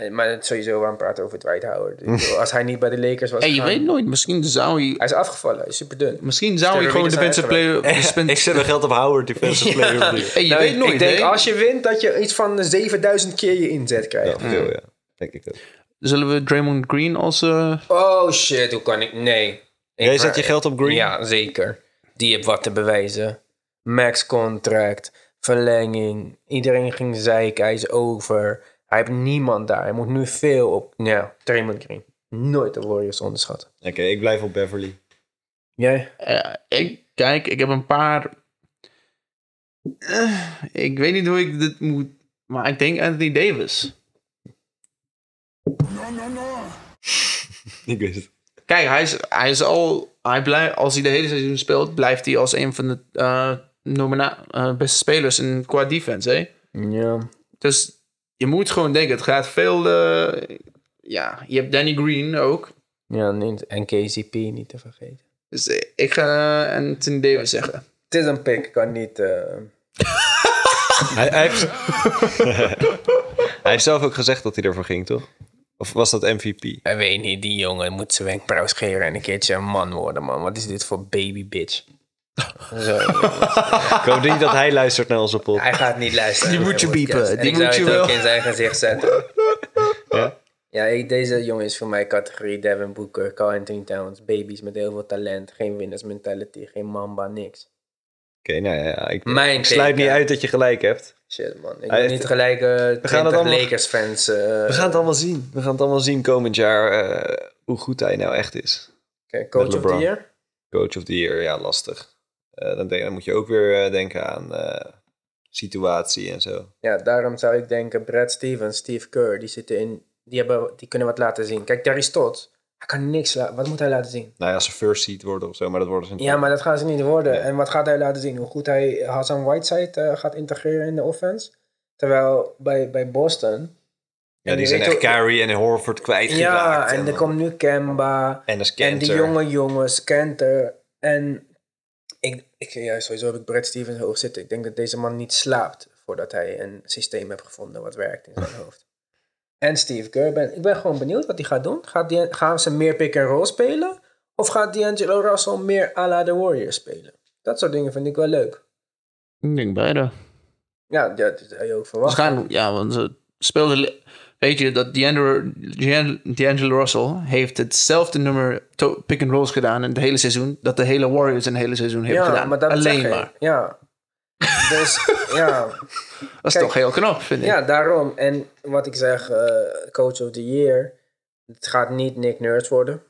Nee, maar het is sowieso waarom praten over Dwight Howard.
[LAUGHS]
Ik bedoel, Als hij niet bij de Lakers was
En je
gegaan-
weet nooit, misschien zou hij...
Hij is afgevallen, hij is superdun.
Misschien zou hij
Sterren
gewoon
winnen zijn
defensive player...
[LAUGHS]
dispen-
[LAUGHS] Ik zet mijn geld op Howard, defensive player of the year.
Hey, je weet nooit,
Nou, ik denk
hè?
als je wint dat je iets van 7000 keer je inzet
Ja,
krijgt.
veel, ja. Denk ik ook.
Zullen we Draymond Green als... eh,
Oh shit, hoe kan ik? Nee. Ik
Jij
ver-
zet je geld op Green?
Ja, zeker. Die heeft wat te bewijzen. Max contract, verlenging. Iedereen ging zeiken, hij is over. Hij heeft niemand daar. Hij moet nu veel op. Ja, Draymond Green. Nooit de Warriors onderschatten.
Oké, ik blijf op Beverly. [LAUGHS]
Jij?
eh, ik, kijk, ik heb een paar... Eh, ik weet niet hoe ik dit moet... Maar ik denk Anthony Davis.
Ik weet het.
Kijk, hij is, hij is al... Hij blijft, als hij de hele seizoen speelt, blijft hij als een van de eh, nomina- eh, beste spelers in, qua defense, hè?
Ja.
Dus je moet gewoon denken, het gaat veel... eh, ja, je hebt Danny Green ook.
Ja, niet- en KCP niet te vergeten.
Dus eh, ik ga eh, Anthony Davis zeggen.
Het is een pick, ik kan niet. eh,
Hij, hij heeft... [LAUGHS] hij heeft zelf ook gezegd dat hij ervoor ging, toch? Of was dat MVP?
Ik weet niet, die jongen moet zijn wenkbrauw scheren en een keertje een man worden, man. Wat is dit voor baby bitch? Zo,
Ik hoop niet dat hij luistert naar onze pot.
hij gaat niet luisteren.
Die
naar
moet je
mijn podcast.
piepen,
En
die
ik zou
moet je
het ook
wel.
in zijn gezicht zetten.
[LAUGHS]
Ja?
Ja, ik- deze jongen is voor mij categorie Devin Booker, Carl Anthony Towns. Baby's met heel veel talent, geen winners mentality, geen mamba, niks.
Oké, nou ja, ik,
Mijn
ik sluit
teken.
niet uit dat je gelijk hebt.
Shit, man. Ik
Hij
ben
heeft-
niet gelijk eh
gaan het
20
allemaal-
Lakers-fans. eh,
We gaan het allemaal zien. We gaan het allemaal zien komend jaar eh, hoe goed hij nou echt is.
Oké, Coach
met
of the
LeBron.
year?
Coach of the year, ja, lastig. Eh, dan, denk- dan moet je ook weer eh, denken aan eh, situatie en zo.
Ja, daarom zou ik denken, Brad Stevens, Steve Kerr, die zitten in, die, hebben, die kunnen wat laten zien. Kijk, Darius Stott, hij kan niks laten, wat moet hij laten zien?
Nou ja, ze first seed worden of zo, maar dat worden ze niet.
Ja, maar dat gaan ze niet worden.
Nee.
En wat gaat hij laten zien? Hoe goed hij Hassan Whiteside eh, gaat integreren in de offense? Terwijl bij, bij Boston...
Ja, die
je
zijn
weet
echt
ook-
Carrie en Horford
Ja,
kwijtgeraakt.
en er komt nu Kemba.
En dat is
En die
Kanter.
jonge jongens, Kenter. En ik, ik, ja, sowieso heb ik Brad Stevens hoog zitten. Ik denk dat deze man niet slaapt voordat hij een systeem heeft gevonden wat werkt in zijn hoofd. En Steve Kerr, ben, ik ben gewoon benieuwd wat hij gaat doen. Gaat die, gaan ze meer pick-and-roll spelen? Of gaat D'Angelo Russell meer à la The Warriors spelen? Dat soort dingen vind ik wel leuk.
Ik denk beide.
Ja, ja, dat zou je ook verwachten.
Waarschijnlijk, ja, want ze speelden... Weet je, dat D'Angelo Gian- D'Angelo Russell heeft hetzelfde nummer to- pick-and-rolls gedaan in het hele seizoen... dat de hele Warriors in het hele seizoen hebben
ja,
Dus gedaan.
maar dat
Alleen
zeg ik.
maar. [LAUGHS]
Ja. Dus ja,
Dat is
Kijk.
toch heel knap, vind ik.
Ja, daarom. En wat ik zeg, eh, coach of the year. Het gaat niet Nick Nurse worden.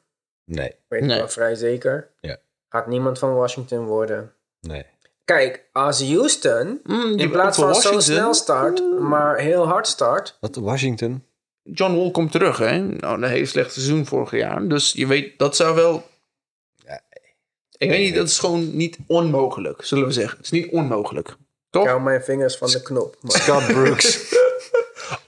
Nee,
Weet ik
Nee.
wel vrij zeker.
Ja.
Gaat niemand van Washington worden.
nee.
Kijk, als Houston
Mm, die-
in plaats
voor
van zo
Washington. Mm.
snel start, maar heel hard start.
Wat, Washington?
John Wall komt terug, hè. Nou, een heel slecht seizoen vorig jaar. Dus je weet, dat zou wel... Ik weet niet, dat is gewoon niet onmogelijk, zullen we zeggen. Het is niet onmogelijk. Toch?
Ik hou mijn vingers van de
[LAUGHS]
knop. Maar
Scott Brooks. [LAUGHS]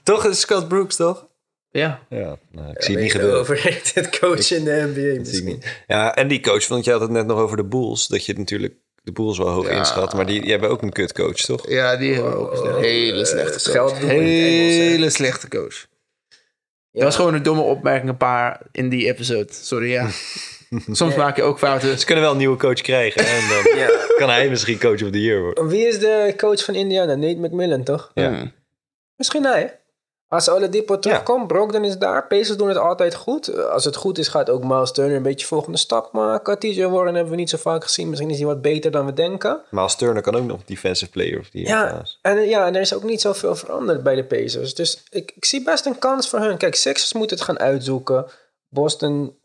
toch is Scott Brooks, toch?
ja.
Ja, nou, ik zie het
weet
niet
je,
gebeuren.
overrated coach in de NBA
Dat zie ik
misschien.
niet. Ja, en die coach, want je had het net nog over de Bulls. Dat je natuurlijk de Bulls wel hoog inschat. Maar die, die hebben ook een kutcoach, toch?
Ja, die hebben we ook. Een hele slechte
scheld
coach.
doen in het Engels, hè.
Hele slechte coach. Dat was gewoon een domme opmerking, een paar in die episode. Sorry, [LAUGHS] ja. Soms maak je ook fouten.
Ze kunnen wel een nieuwe coach krijgen. hè, En dan
Ja.
kan hij misschien coach of the year worden.
Wie is de coach van Indiana? Nate McMillan, toch?
Ja.
Hmm.
Misschien hij. Als Oladipo terugkomt, Brogdon is daar. Pacers doen het altijd goed. Eh, Als het goed is, gaat ook Miles Turner een beetje volgende stap maken. TJ Warren hebben we niet zo vaak gezien. Misschien is hij wat beter dan we denken.
Maar als Turner kan ook nog defensive player of the year.
Ja,
trouwens.
en, eh, ja en er is ook niet zoveel veranderd bij de Pacers. Dus ik, ik zie best een kans voor hun. Kijk, Sixers moeten het gaan uitzoeken. Boston,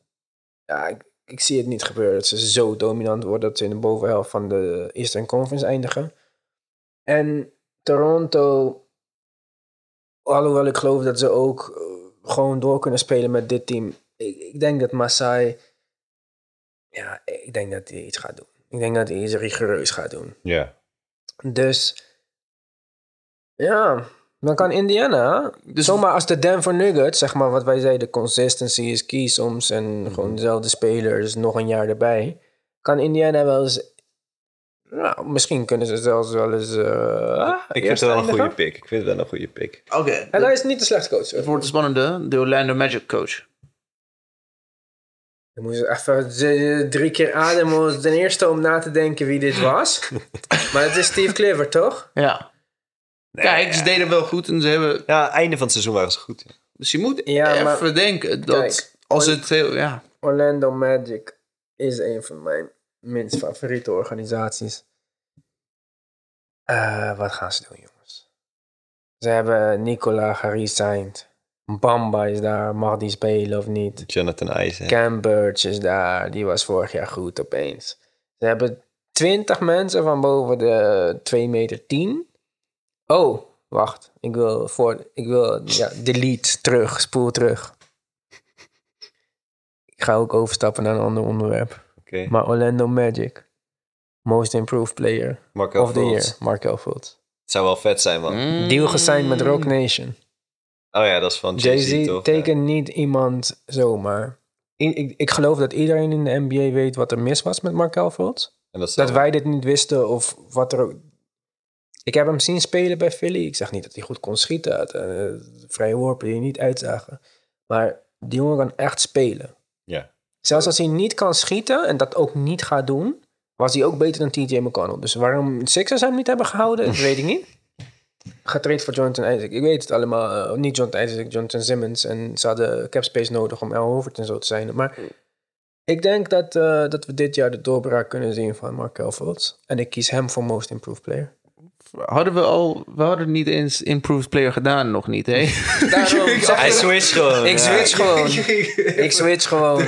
ja, ik, ik zie het niet gebeuren dat ze zo dominant worden dat ze in de bovenhelft van de Eastern Conference eindigen. En Toronto, alhoewel ik geloof dat ze ook eh, gewoon door kunnen spelen met dit team. Ik, ik denk dat Masai, ja, ik denk dat hij iets gaat doen. Ik denk dat hij iets rigoureus gaat doen.
ja.
Dus ja, dan kan Indiana
Dus-
zomaar als de Denver Nuggets, zeg maar wat wij zeiden, consistency is key soms
Mhm.
en gewoon dezelfde spelers nog een jaar erbij, kan Indiana wel eens Nou, misschien kunnen ze zelfs wel eens. eh
Ik vind het
eerste
wel een
eindigen.
goede pick. Ik vind het wel een goede pick.
Oké.
En hij is niet de slechte coach.
Het
hoor.
wordt een spannende. De Orlando Magic coach.
Dan moest ik even z- drie keer ademen. Ten eerste om na te denken wie dit [LAUGHS] was. maar het is Steve Clifford, toch?
Ja. Kijk, ze deden wel goed en ze hebben...
Ja, einde van het seizoen waren ze goed. ja.
Dus je moet
Ja,
even
maar-
denken dat
Kijk,
als het heel... Ja,
Orlando Magic is een van mijn minst favoriete organisaties. Eh, wat gaan ze doen, jongens? Ze hebben Nicola geresigned. Bamba is daar, mag die spelen of niet?
Jonathan Eisen.
Cam Birch is daar, die was vorig jaar goed opeens. Ze hebben 20 mensen van boven de 2 meter 10. Oh, wacht. Ik wil voor. Ik wil. Ja, delete terug. Spoel terug. Ik ga ook overstappen naar een ander onderwerp.
Oké.
Maar Orlando Magic. Most improved player
Marco
of the
Fultz.
year. Mm. Markel Fultz.
Het zou wel vet zijn, man.
Deal gesigned met Rock Nation.
Oh ja, dat is van Jay-Z,
Jay-Z
toch?
tekent niet iemand zomaar. I- ik, ik geloof dat iedereen in de NBA weet wat er mis was met Markel Fultz.
En dat,
Dat wij dit niet wisten of wat er ook... Ik heb hem zien spelen bij Philly. Ik zag niet dat hij goed kon schieten. Uit, eh, vrije worpen die niet uitzagen. Maar die jongen kan echt spelen.
Ja.
Zelfs als hij niet kan schieten en dat ook niet gaat doen... was hij ook beter dan TJ McConnell. Dus waarom Sixers hem niet hebben gehouden, dat weet ik niet. Getraind voor Jonathan Isaac. Ik weet het allemaal. eh, niet Jonathan Isaac, Jonathan Simmons. En ze hadden cap space nodig om Al Horford en zo te zijn. Maar ik denk dat, eh, dat we dit jaar de doorbraak kunnen zien van Markel Fultz. En ik kies hem voor Most Improved Player.
Hadden we al... We hadden niet eens Improved Player gedaan nog niet,
[LAUGHS]
hè?
[LAUGHS] Daarom zeg
Hij
ik-
switcht gewoon.
ik switch gewoon. Ik switch [LAUGHS] gewoon.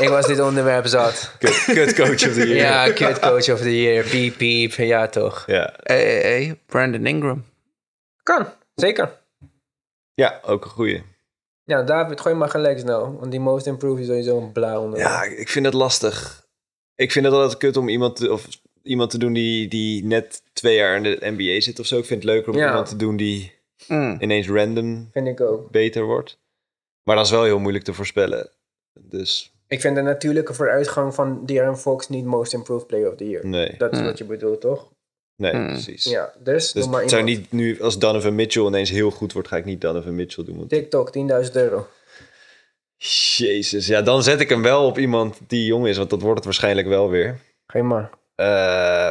Ik was dit onderwerp zat.
Kut, [LAUGHS] kut coach of the year.
Ja, kut coach of the year. Piep, piep. Ja, toch.
Ja.
hey, hey, hey, Brandon Ingram.
Kan, zeker.
Ja, ook een goeie.
Ja, David, gooi maar gelijk snel. Want die Most Improved is sowieso een blauw onderwerp.
Ja, ik vind het lastig. Ik vind het altijd kut om iemand te, of iemand te doen die, die net twee jaar in de NBA zit of zo. Ik vind het leuker om
Ja.
iemand te doen die
Mm.
ineens random
Vind ik ook.
beter wordt. Maar dat is wel heel moeilijk te voorspellen. Dus
Ik vind de natuurlijke vooruitgang van De'Aaron Fox niet Most Improved Player of the Year.
nee,
Dat is
Hmm.
wat je bedoelt, toch?
nee
Hmm.
precies.
Mm. Ja, dus,
Dus
doe maar
het zou niet
iemand.
nu, als Donovan Mitchell ineens heel goed wordt, ga ik niet Donovan Mitchell doen. Want...
TikTok, 10.000 euro.
Jezus, ja, dan zet ik hem wel op iemand die jong is, want dat wordt het waarschijnlijk wel weer.
Geen maar.
Eh,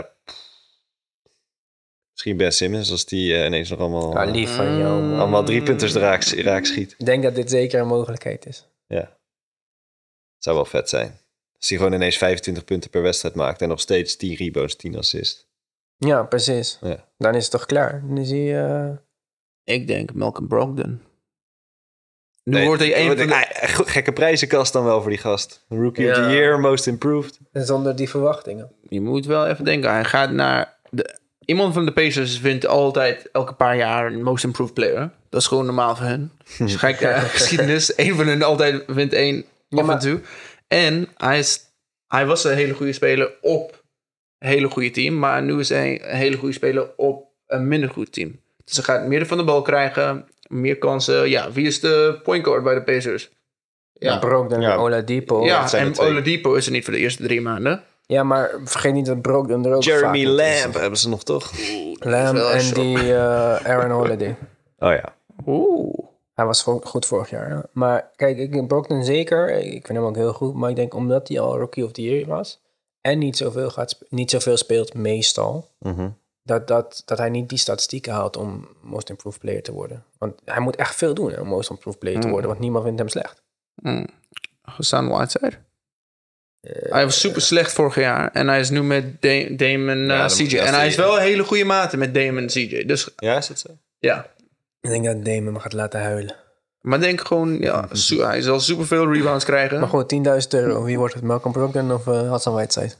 misschien Ben Simmons, als die eh, ineens nog allemaal, eh,
Ah, lief van jou, man.
allemaal driepunters raak, raak schiet.
Ik denk dat dit zeker een mogelijkheid is.
Ja. Zou wel vet zijn. Als hij gewoon ineens 25 punten per wedstrijd maakt en nog steeds 10 rebounds, 10 assists.
Ja, precies.
Ja.
Dan is het toch klaar? Dan is hij... eh,
Ik denk Malcolm Brogdon. Nu
Nee,
wordt hij één
wat-
van de...
ah, go- Gekke prijzenkast dan wel voor die gast. Rookie of the
Ja.
year, most improved.
zonder die verwachtingen.
Je moet wel even denken. Hij gaat naar... De, iemand van de Pacers wint altijd elke paar jaar een Most Improved Player. Dat is gewoon normaal voor Dus hen. Als je kijkt naar de eh, geschiedenis, één van hun altijd wint één af
maar-
en toe. En hij, is, hij was een hele goede speler op een hele goede team. Maar nu is hij een hele goede speler op een minder goed team. Dus hij gaat meer van de bal krijgen, meer kansen. Ja, wie is de point guard bij de Pacers?
Ja. Brogdon
Ja.
en Oladipo. Ja.
Ja,
dat zijn
en
de twee.
Oladipo is er niet voor de eerste drie maanden.
maar vergeet niet dat Brogdon er ook vaak
Jeremy
niet is.
Lamb hebben ze nog toch?
Lamb
wel een
en
shock.
die eh, Aaron Holiday.
Oh ja.
Oeh.
Hij was vo- goed vorig jaar. ja. Maar kijk, ik, Brogdon zeker. Ik vind hem ook heel goed. Maar ik denk omdat hij al Rookie of the Year was. En niet zoveel, gaat, sp- niet zoveel speelt meestal.
Mhm.
dat, dat, dat hij niet die statistieken haalt om most improved player te worden. Want hij moet echt veel doen hè, om most improved player
Mhm.
te worden, want niemand vindt hem slecht.
Hassan Whiteside. hij was super slecht vorig jaar. En hij is nu met Da- Damon eh,
dat moet-
CJ.
dat
En hij
zie
is
je.
wel een hele goede mate met Damon CJ. Dus
Ja, is dat zo?
ja.
Ik denk dat Damon hem gaat laten huilen.
Maar denk gewoon, ja, [LAUGHS] su- hij zal super veel rebounds krijgen.
Maar goed, 10.000 euro. Wie wordt het? Malcolm Brogdon of eh, Hassan Whiteside?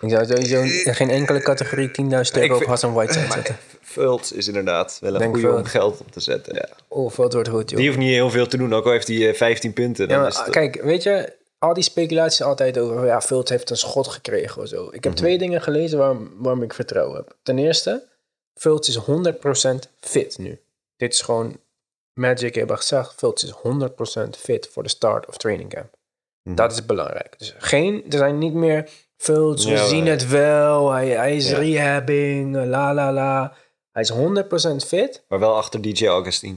Ik zou sowieso in geen enkele categorie 10.000 euro op
vind-
Hassan Whiteside zetten.
Vult is inderdaad wel een
Denk
goede om
Vult.
geld op te zetten. Ja.
Oh, dat wordt goed, joh.
Die hoeft niet heel veel te doen, ook al heeft hij eh, 15 punten. Dan
Ja,
is
maar, ah,
het-
kijk, weet je, al die speculaties altijd over, ja, Vult heeft een schot gekregen of zo. Ik heb
Mhm.
twee dingen gelezen waarom, waarom ik vertrouwen heb. Ten eerste, Vult is 100% fit nu. Dit is gewoon, Magic hebben gezegd, Vult is
Mhm.
100% fit voor de start of training camp. Dat is belangrijk. Dus geen, er zijn niet meer Fields, we
Ja,
zien
ja.
het wel. Hij, hij is
Ja.
rehabbing, la la la. Hij is 100% fit.
Maar wel achter DJ Augustine.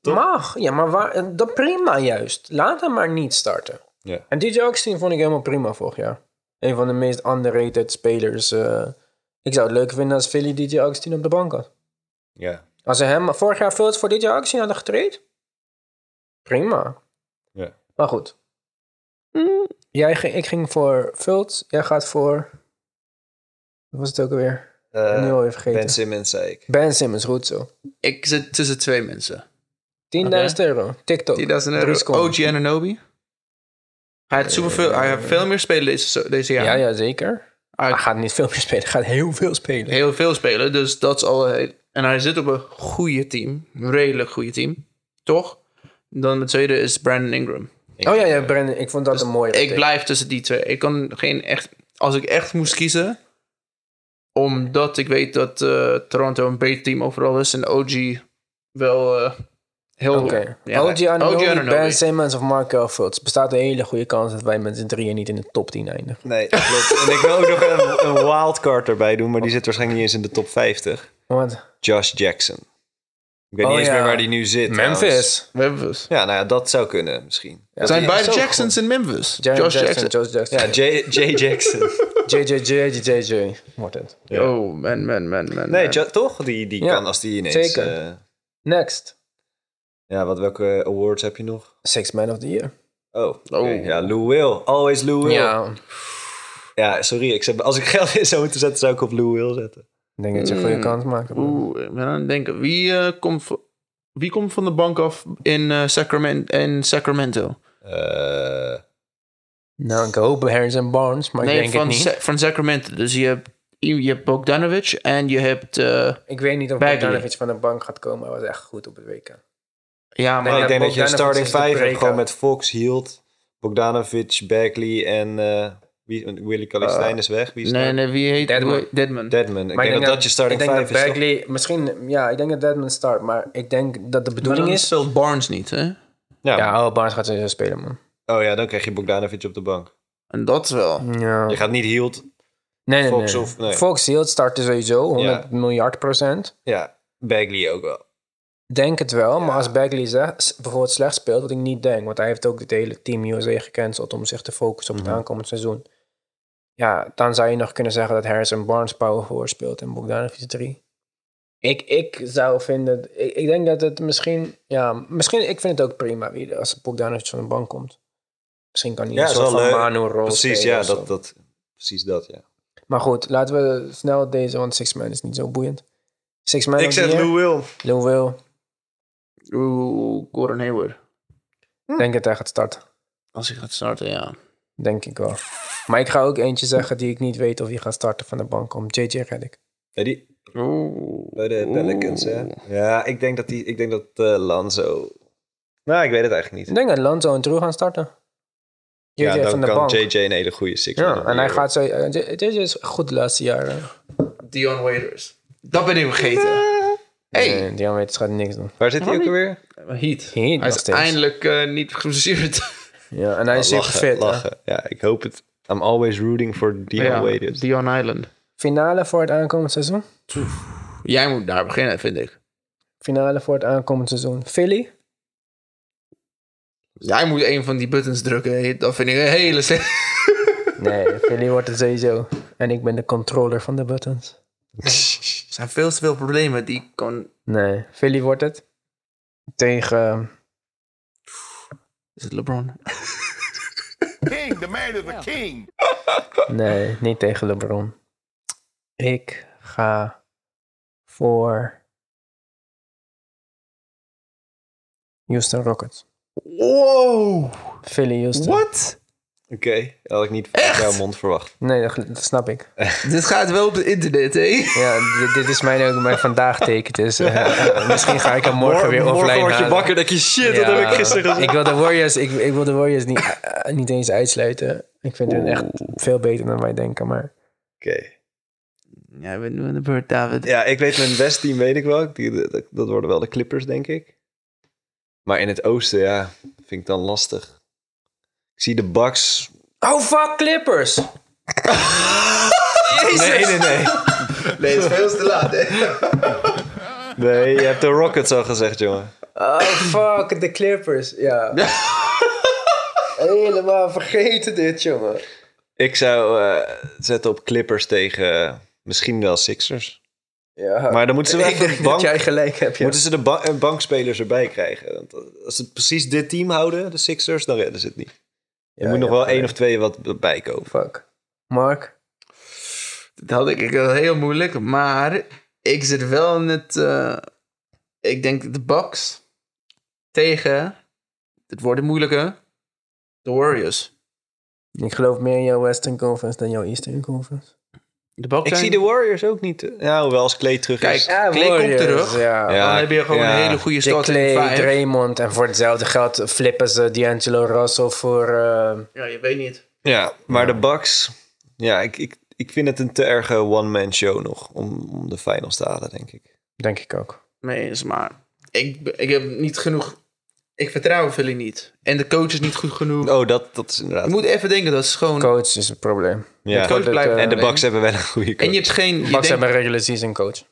Mag. Ja, maar waar, dat prima juist. Laat hem maar niet starten.
Ja.
En DJ Augustine vond ik helemaal prima vorig jaar. Een van de meest underrated spelers. eh. ik zou het leuk vinden als Philly DJ Augustine op de bank had.
Ja.
Als ze hem vorig jaar Fields voor DJ Augustine hadden getraind. Prima.
Ja.
Maar goed. Mm, Jij ging, ik ging voor Fields. Jij gaat voor... Wat was het ook alweer?
Eh,
nu alweer vergeten.
ben Simmons, zei ik.
Ben Simmons, goed zo. 10.000
Ik zit tussen twee mensen. 10.000
euro. TikTok. Drie
euro.
seconden.
OG Ananobi. Hij, heeft superveel, hij heeft veel meer spelen deze, deze jaar.
Ja, ja, zeker.
Hij
Hij
gaat
gaat niet veel meer spelen. Hij gaat heel veel spelen.
heel veel spelen, dus dat is al... heel- En hij zit op een goede team. Een redelijk goede team. Toch? Dan de tweede is Brandon Ingram.
oh ja, ja, Brandon. Ik vond dat een mooie.
Ik
pick.
blijf tussen die twee. Ik kan geen echt... Als ik echt moest kiezen... Omdat ik weet dat eh, Toronto een beter team overal is. En OG wel eh, heel...
Oké.
Ja,
OG Anunoby,
Anunoby.
Ben Simmons of Markel Fultz. Bestaat een hele goede kans dat wij met z'n drieën niet in de top 10 eindigen.
Nee, klopt. en ik wil ook nog een, een wildcard erbij doen, maar die zit waarschijnlijk niet eens in de top 50.
Want
Josh Jackson. Ik weet
Oh,
niet eens
ja.
meer waar die nu zit. trouwens.
Memphis.
Memphis.
Ja, nou ja, dat zou kunnen misschien.
Zijn
die is
beide
zo
Jacksons in Memphis?
Jaron
Josh Jackson.
Josh Jackson.
Ja, J. J. [LAUGHS] Jackson.
JJJJJJ wordt het.
Ja.
Oh, man, man, man, man.
Nee,
man.
Jo- toch? Die, die
Ja,
kan als die ineens...
zeker.
eh,
Next.
ja, wat, welke awards heb je nog?
Six Man of the Year.
Oh, oké.
Oh.
ja, Lou Will. Always Lou Will. Ja,
Ja.
sorry. Ik zou, als ik geld in zou moeten zetten, zou ik op Lou Will zetten.
Ik denk dat je een goede kans maakt.
Oeh, ik ben aan het denken. Wie, eh, komt, v- wie komt van de bank af in, eh, Sacramento, in Sacramento?
Eh,
Nou, ik hoop Harrison Barnes, maar ik
Nee,
denk
van,
het niet.
Sa- van Sacramento. Dus je hebt, je hebt Bogdanovic en je hebt... eh,
Ik weet niet of
Bagley.
Bogdanovic van de bank gaat komen. Hij was echt goed op het WK.
ja, maar
maar
ja,
ik denk dat je een
Bogdanovic
starting
is de
5 hebt.
breaker.
Gewoon met Fox, Hield, Bogdanovic, Bagley en... eh wie, Willy Kalistijn is weg. Wie is
nee,
daar?
nee, wie heet...
Deadman.
Deadman.
Deadman. Ik denk dat dat je starting
Eh, ik denk
5
dat
is. toch?
Bagley, misschien, ja, ik denk dat Deadman start, maar ik denk dat de
Maar
bedoeling
dan
is.
speelt Barnes niet, hè?
Ja.
Ja, oh, Barnes gaat sowieso spelen, man.
Oh ja, dan krijg je Bogdanovic op de bank.
En dat wel.
Ja.
Je gaat niet Hield...
Nee, nee,
Fox
nee.
of- nee.
Fox Hield starten sowieso 100
Ja.
miljard procent.
Ja, Bagley ook wel.
Denk het wel, maar als Bagley ze- s- bijvoorbeeld slecht speelt, wat ik niet denk, want hij heeft ook het hele team USA gecanceld om zich te focussen op het aankomend seizoen. Ja, dan zou je nog kunnen zeggen dat Harrison Barnes power forward speelt en Bogdanovic 3. Ik, ik zou vinden, ik, ik denk dat het misschien, ja, misschien, ik vind het ook prima wie- als Bogdanovic van de bank komt. Misschien kan hij
Ja,
een
is
soort
wel
van
leuk.
Manu-rol
Precies,
spelen
ja,
of zo.
dat, dat, precies dat, ja.
Maar goed, laten we snel deze, want Six Man is niet zo boeiend. Six Man
Ik zeg Lou Will.
Lou Will.
Oeh, Gordon Hayward.
Denk dat hij gaat starten.
Als hij gaat starten, ja.
Denk ik wel. Maar ik ga ook eentje zeggen die ik niet weet of hij gaat starten van de bank om. JJ Reddick.
Ja, die,
Oeh.
bij de Pelicans, hè?
Oeh.
Ja, ik denk dat, die, ik denk dat eh, Lanzo... Nou, ik weet het eigenlijk
Ik
niet.
denk dat Lonzo en Drew gaan starten. JJ
Ja, dan
van de
kan
bank.
JJ een hele goede six
ja, en hij gaat zo... eh, J- JJ is goed de laatste jaren.
Dion Waiters. Dat ben ik vergeten. Hey.
Nee, Dion Waiters gaat niks doen.
Waar zit hij ook alweer?
Heat.
Heat
Hij
nog
is
steeds.
eindelijk eh, niet geblesseerd.
Ja, en hij is super
lachen,
fit. hè.
lachen. Ja, ik hoop het. I'm always rooting for Dion [LAUGHS] Waiters.
Dion Island.
Finale voor het aankomend seizoen.
Jij moet daar beginnen, vind ik.
Finale voor het aankomend seizoen. Philly.
Jij moet een van die buttons drukken. Dat vind ik een hele [LAUGHS] slechte.
Nee, Philly wordt het sowieso. En ik ben de controller van de buttons.
Er zijn veel te veel problemen die ik kan...
Nee, Philly wordt het. Tegen...
Is het LeBron?
King, the man is a king.
Nee, niet tegen LeBron. Ik ga voor Houston Rockets.
Wow!
Philly Houston.
What?
Oké, dat had ik niet van jouw mond verwacht.
Nee, dat, dat snap ik.
Dit gaat wel op het internet, hé?
Ja, dit, dit is mijn, ook mijn vandaag teken. Dus eh, eh, misschien ga ik hem morgen weer offline halen.
dat je shit,
Ja, Ik wil de Warriors, ik, ik wil de Warriors niet, eh, niet eens uitsluiten. Ik vind hun echt veel beter dan wij denken. Maar
Oké.
Jij bent nu aan de beurt, David.
Ja, ik weet mijn westteam, weet ik wel. Die, dat, dat worden wel de Clippers, denk ik. Maar in het oosten, ja, vind ik dan lastig. Ik zie de Bucks.
Oh, fuck Clippers.
Nee, nee, nee.
Nee, het is veel te laat, hè?
[LAUGHS] Nee, je hebt de Rockets al gezegd, jongen.
Oh, fuck, de Clippers. Ja. Helemaal vergeten dit, jongen.
Ik zou eh, zetten op Clippers tegen eh, misschien wel Sixers.
Ja.
Maar dan moeten ze wel
ik
even
denk
bank-
dat jij gelijk hebt, ja.
Moeten ze de ba- eh, bankspelers erbij krijgen? Want eh, als ze precies dit team houden, de Sixers, dan redden ze het niet. Er
Ja,
moet nog
ja,
wel één
gelijk.
of twee wat bij komen.
Fuck. Mark?
Dat had ik wel heel moeilijk, maar ik zit wel in het. eh, ik denk de Bucks tegen. Het wordt een moeilijke. De Warriors.
Ik geloof meer in jouw Western Conference dan jouw Eastern Conference.
De Bucks
Ik
zijn-
zie de Warriors ook niet. eh, Ja, hoewel als Clay terug
Kijk,
is.
Klay komt
Warriors,
terug.
Ja.
Ja.
Dan heb je gewoon
ja.
een hele goede
Dick
start in de
Clay,
vijf.
Draymond en voor hetzelfde geld flippen ze D'Angelo Russell voor... eh,
Ja, je weet niet.
Ja, maar de Bucks... Ja, ik, ik, ik vind het een te erge one-man show nog om, om de finals te halen, denk ik.
denk ik ook.
mee eens, maar ik, ik heb niet genoeg. Ik vertrouw Philly niet. En de coach is niet goed genoeg.
Oh, dat, dat is inderdaad...
Je moet even denken, dat is gewoon.
Coach is het probleem.
ja.
de coach
dat,
blijft
eh,
En de
alleen.
Bucks hebben wel een goede coach.
En je hebt geen. je
Bucks
denkt-
hebben een regular season coach.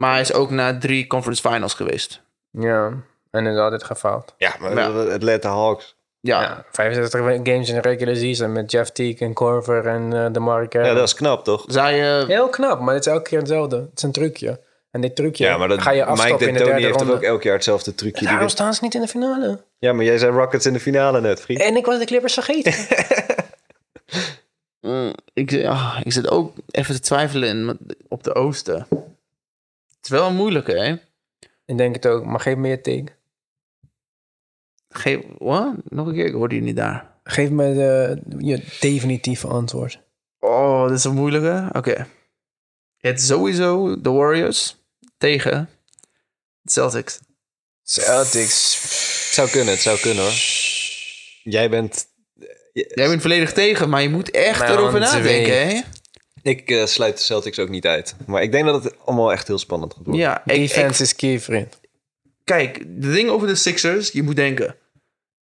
Maar hij is ook na drie conference finals geweest.
Ja. En is altijd gefaald.
Ja, maar
Ja.
het Atlanta Hawks.
Ja.
Ja. 65 Ah, games in de regular season met Jeff Teague en Corver en eh de Mark.
Ja, dat is knap, toch?
Zij. eh,
Heel knap, maar het is elke keer hetzelfde. Het is een trucje. En dit trucje
Ja, maar dat,
ga je
Mike
afstappen in de
D'Antoni
derde
heeft toch
ronde.
ook elk jaar hetzelfde trucje. die
Daarom
wint.
staan ze niet in de finale.
Ja, maar jij zei Rockets in de finale net, vriend.
En ik was de Clippers vergeten.
mm, ik, ah, ik zit ook even te twijfelen in, met- op de Oosten. Het is wel een moeilijke, hè?
ik denk het ook, maar geef me je take.
Geef, wat? Nog een keer, ik hoorde je niet daar.
Geef me de, je definitieve antwoord.
Oh, dit is een moeilijke. Oké. Het is sowieso de Warriors tegen de Celtics.
Het zou kunnen, het zou kunnen hoor. Jij bent...
Jij bent volledig tegen, maar je moet echt
Maar
erover
want ze
nadenken, hè?
Ik eh, sluit de Celtics ook niet uit. Maar ik denk dat het allemaal echt heel spannend gaat worden.
Ja, ik, ik-
Defense is key, vriend.
kijk, de ding over de Sixers, je moet denken.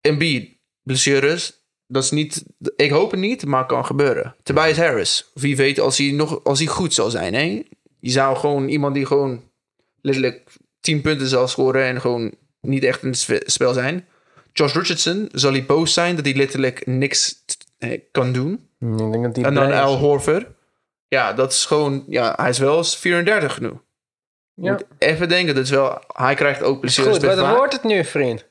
Embiid, blessures, dat is niet... Ik hoop het niet, maar kan gebeuren. Tobias Harris, wie weet als hij, nog, als hij goed zal zijn, hè? Je zou gewoon iemand die gewoon letterlijk 10 punten zal scoren en gewoon niet echt in het spe- spel zijn. Josh Richardson, zal hij boos zijn dat hij letterlijk niks t- eh, kan doen?
Hmm, Ik denk dat die
En dan
blij is.
Al Horford. Ja, dat is gewoon... Ja, hij is wel eens 34 nu.
Ja.
Moet even denken, dat is wel... Hij krijgt ook plezier.
Goed,
respect
wat
voor-
wordt het nu, vriend?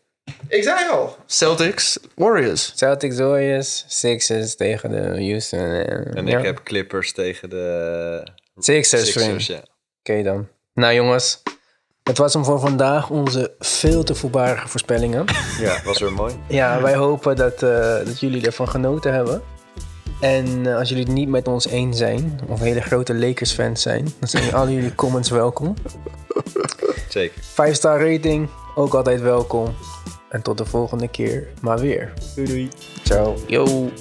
Ik zei al. Celtics, Warriors.
Celtics Warriors, Sixers tegen de Houston. eh,
En
ja.
ik heb Clippers tegen de
Sixers,
Sixers,
vriend.
ja.
Oké dan. Nou jongens, het was hem voor vandaag onze veel te voorbarige voorspellingen.
Ja, was weer mooi.
Ja, wij hopen dat, eh, dat jullie ervan genoten hebben. En eh, als jullie het niet met ons eens zijn, of hele grote Lakers-fans zijn, dan zijn alle jullie comments welkom.
Zeker.
5-star rating, ook altijd welkom. En tot de volgende keer, maar weer. Doei doei. Ciao.
Yo.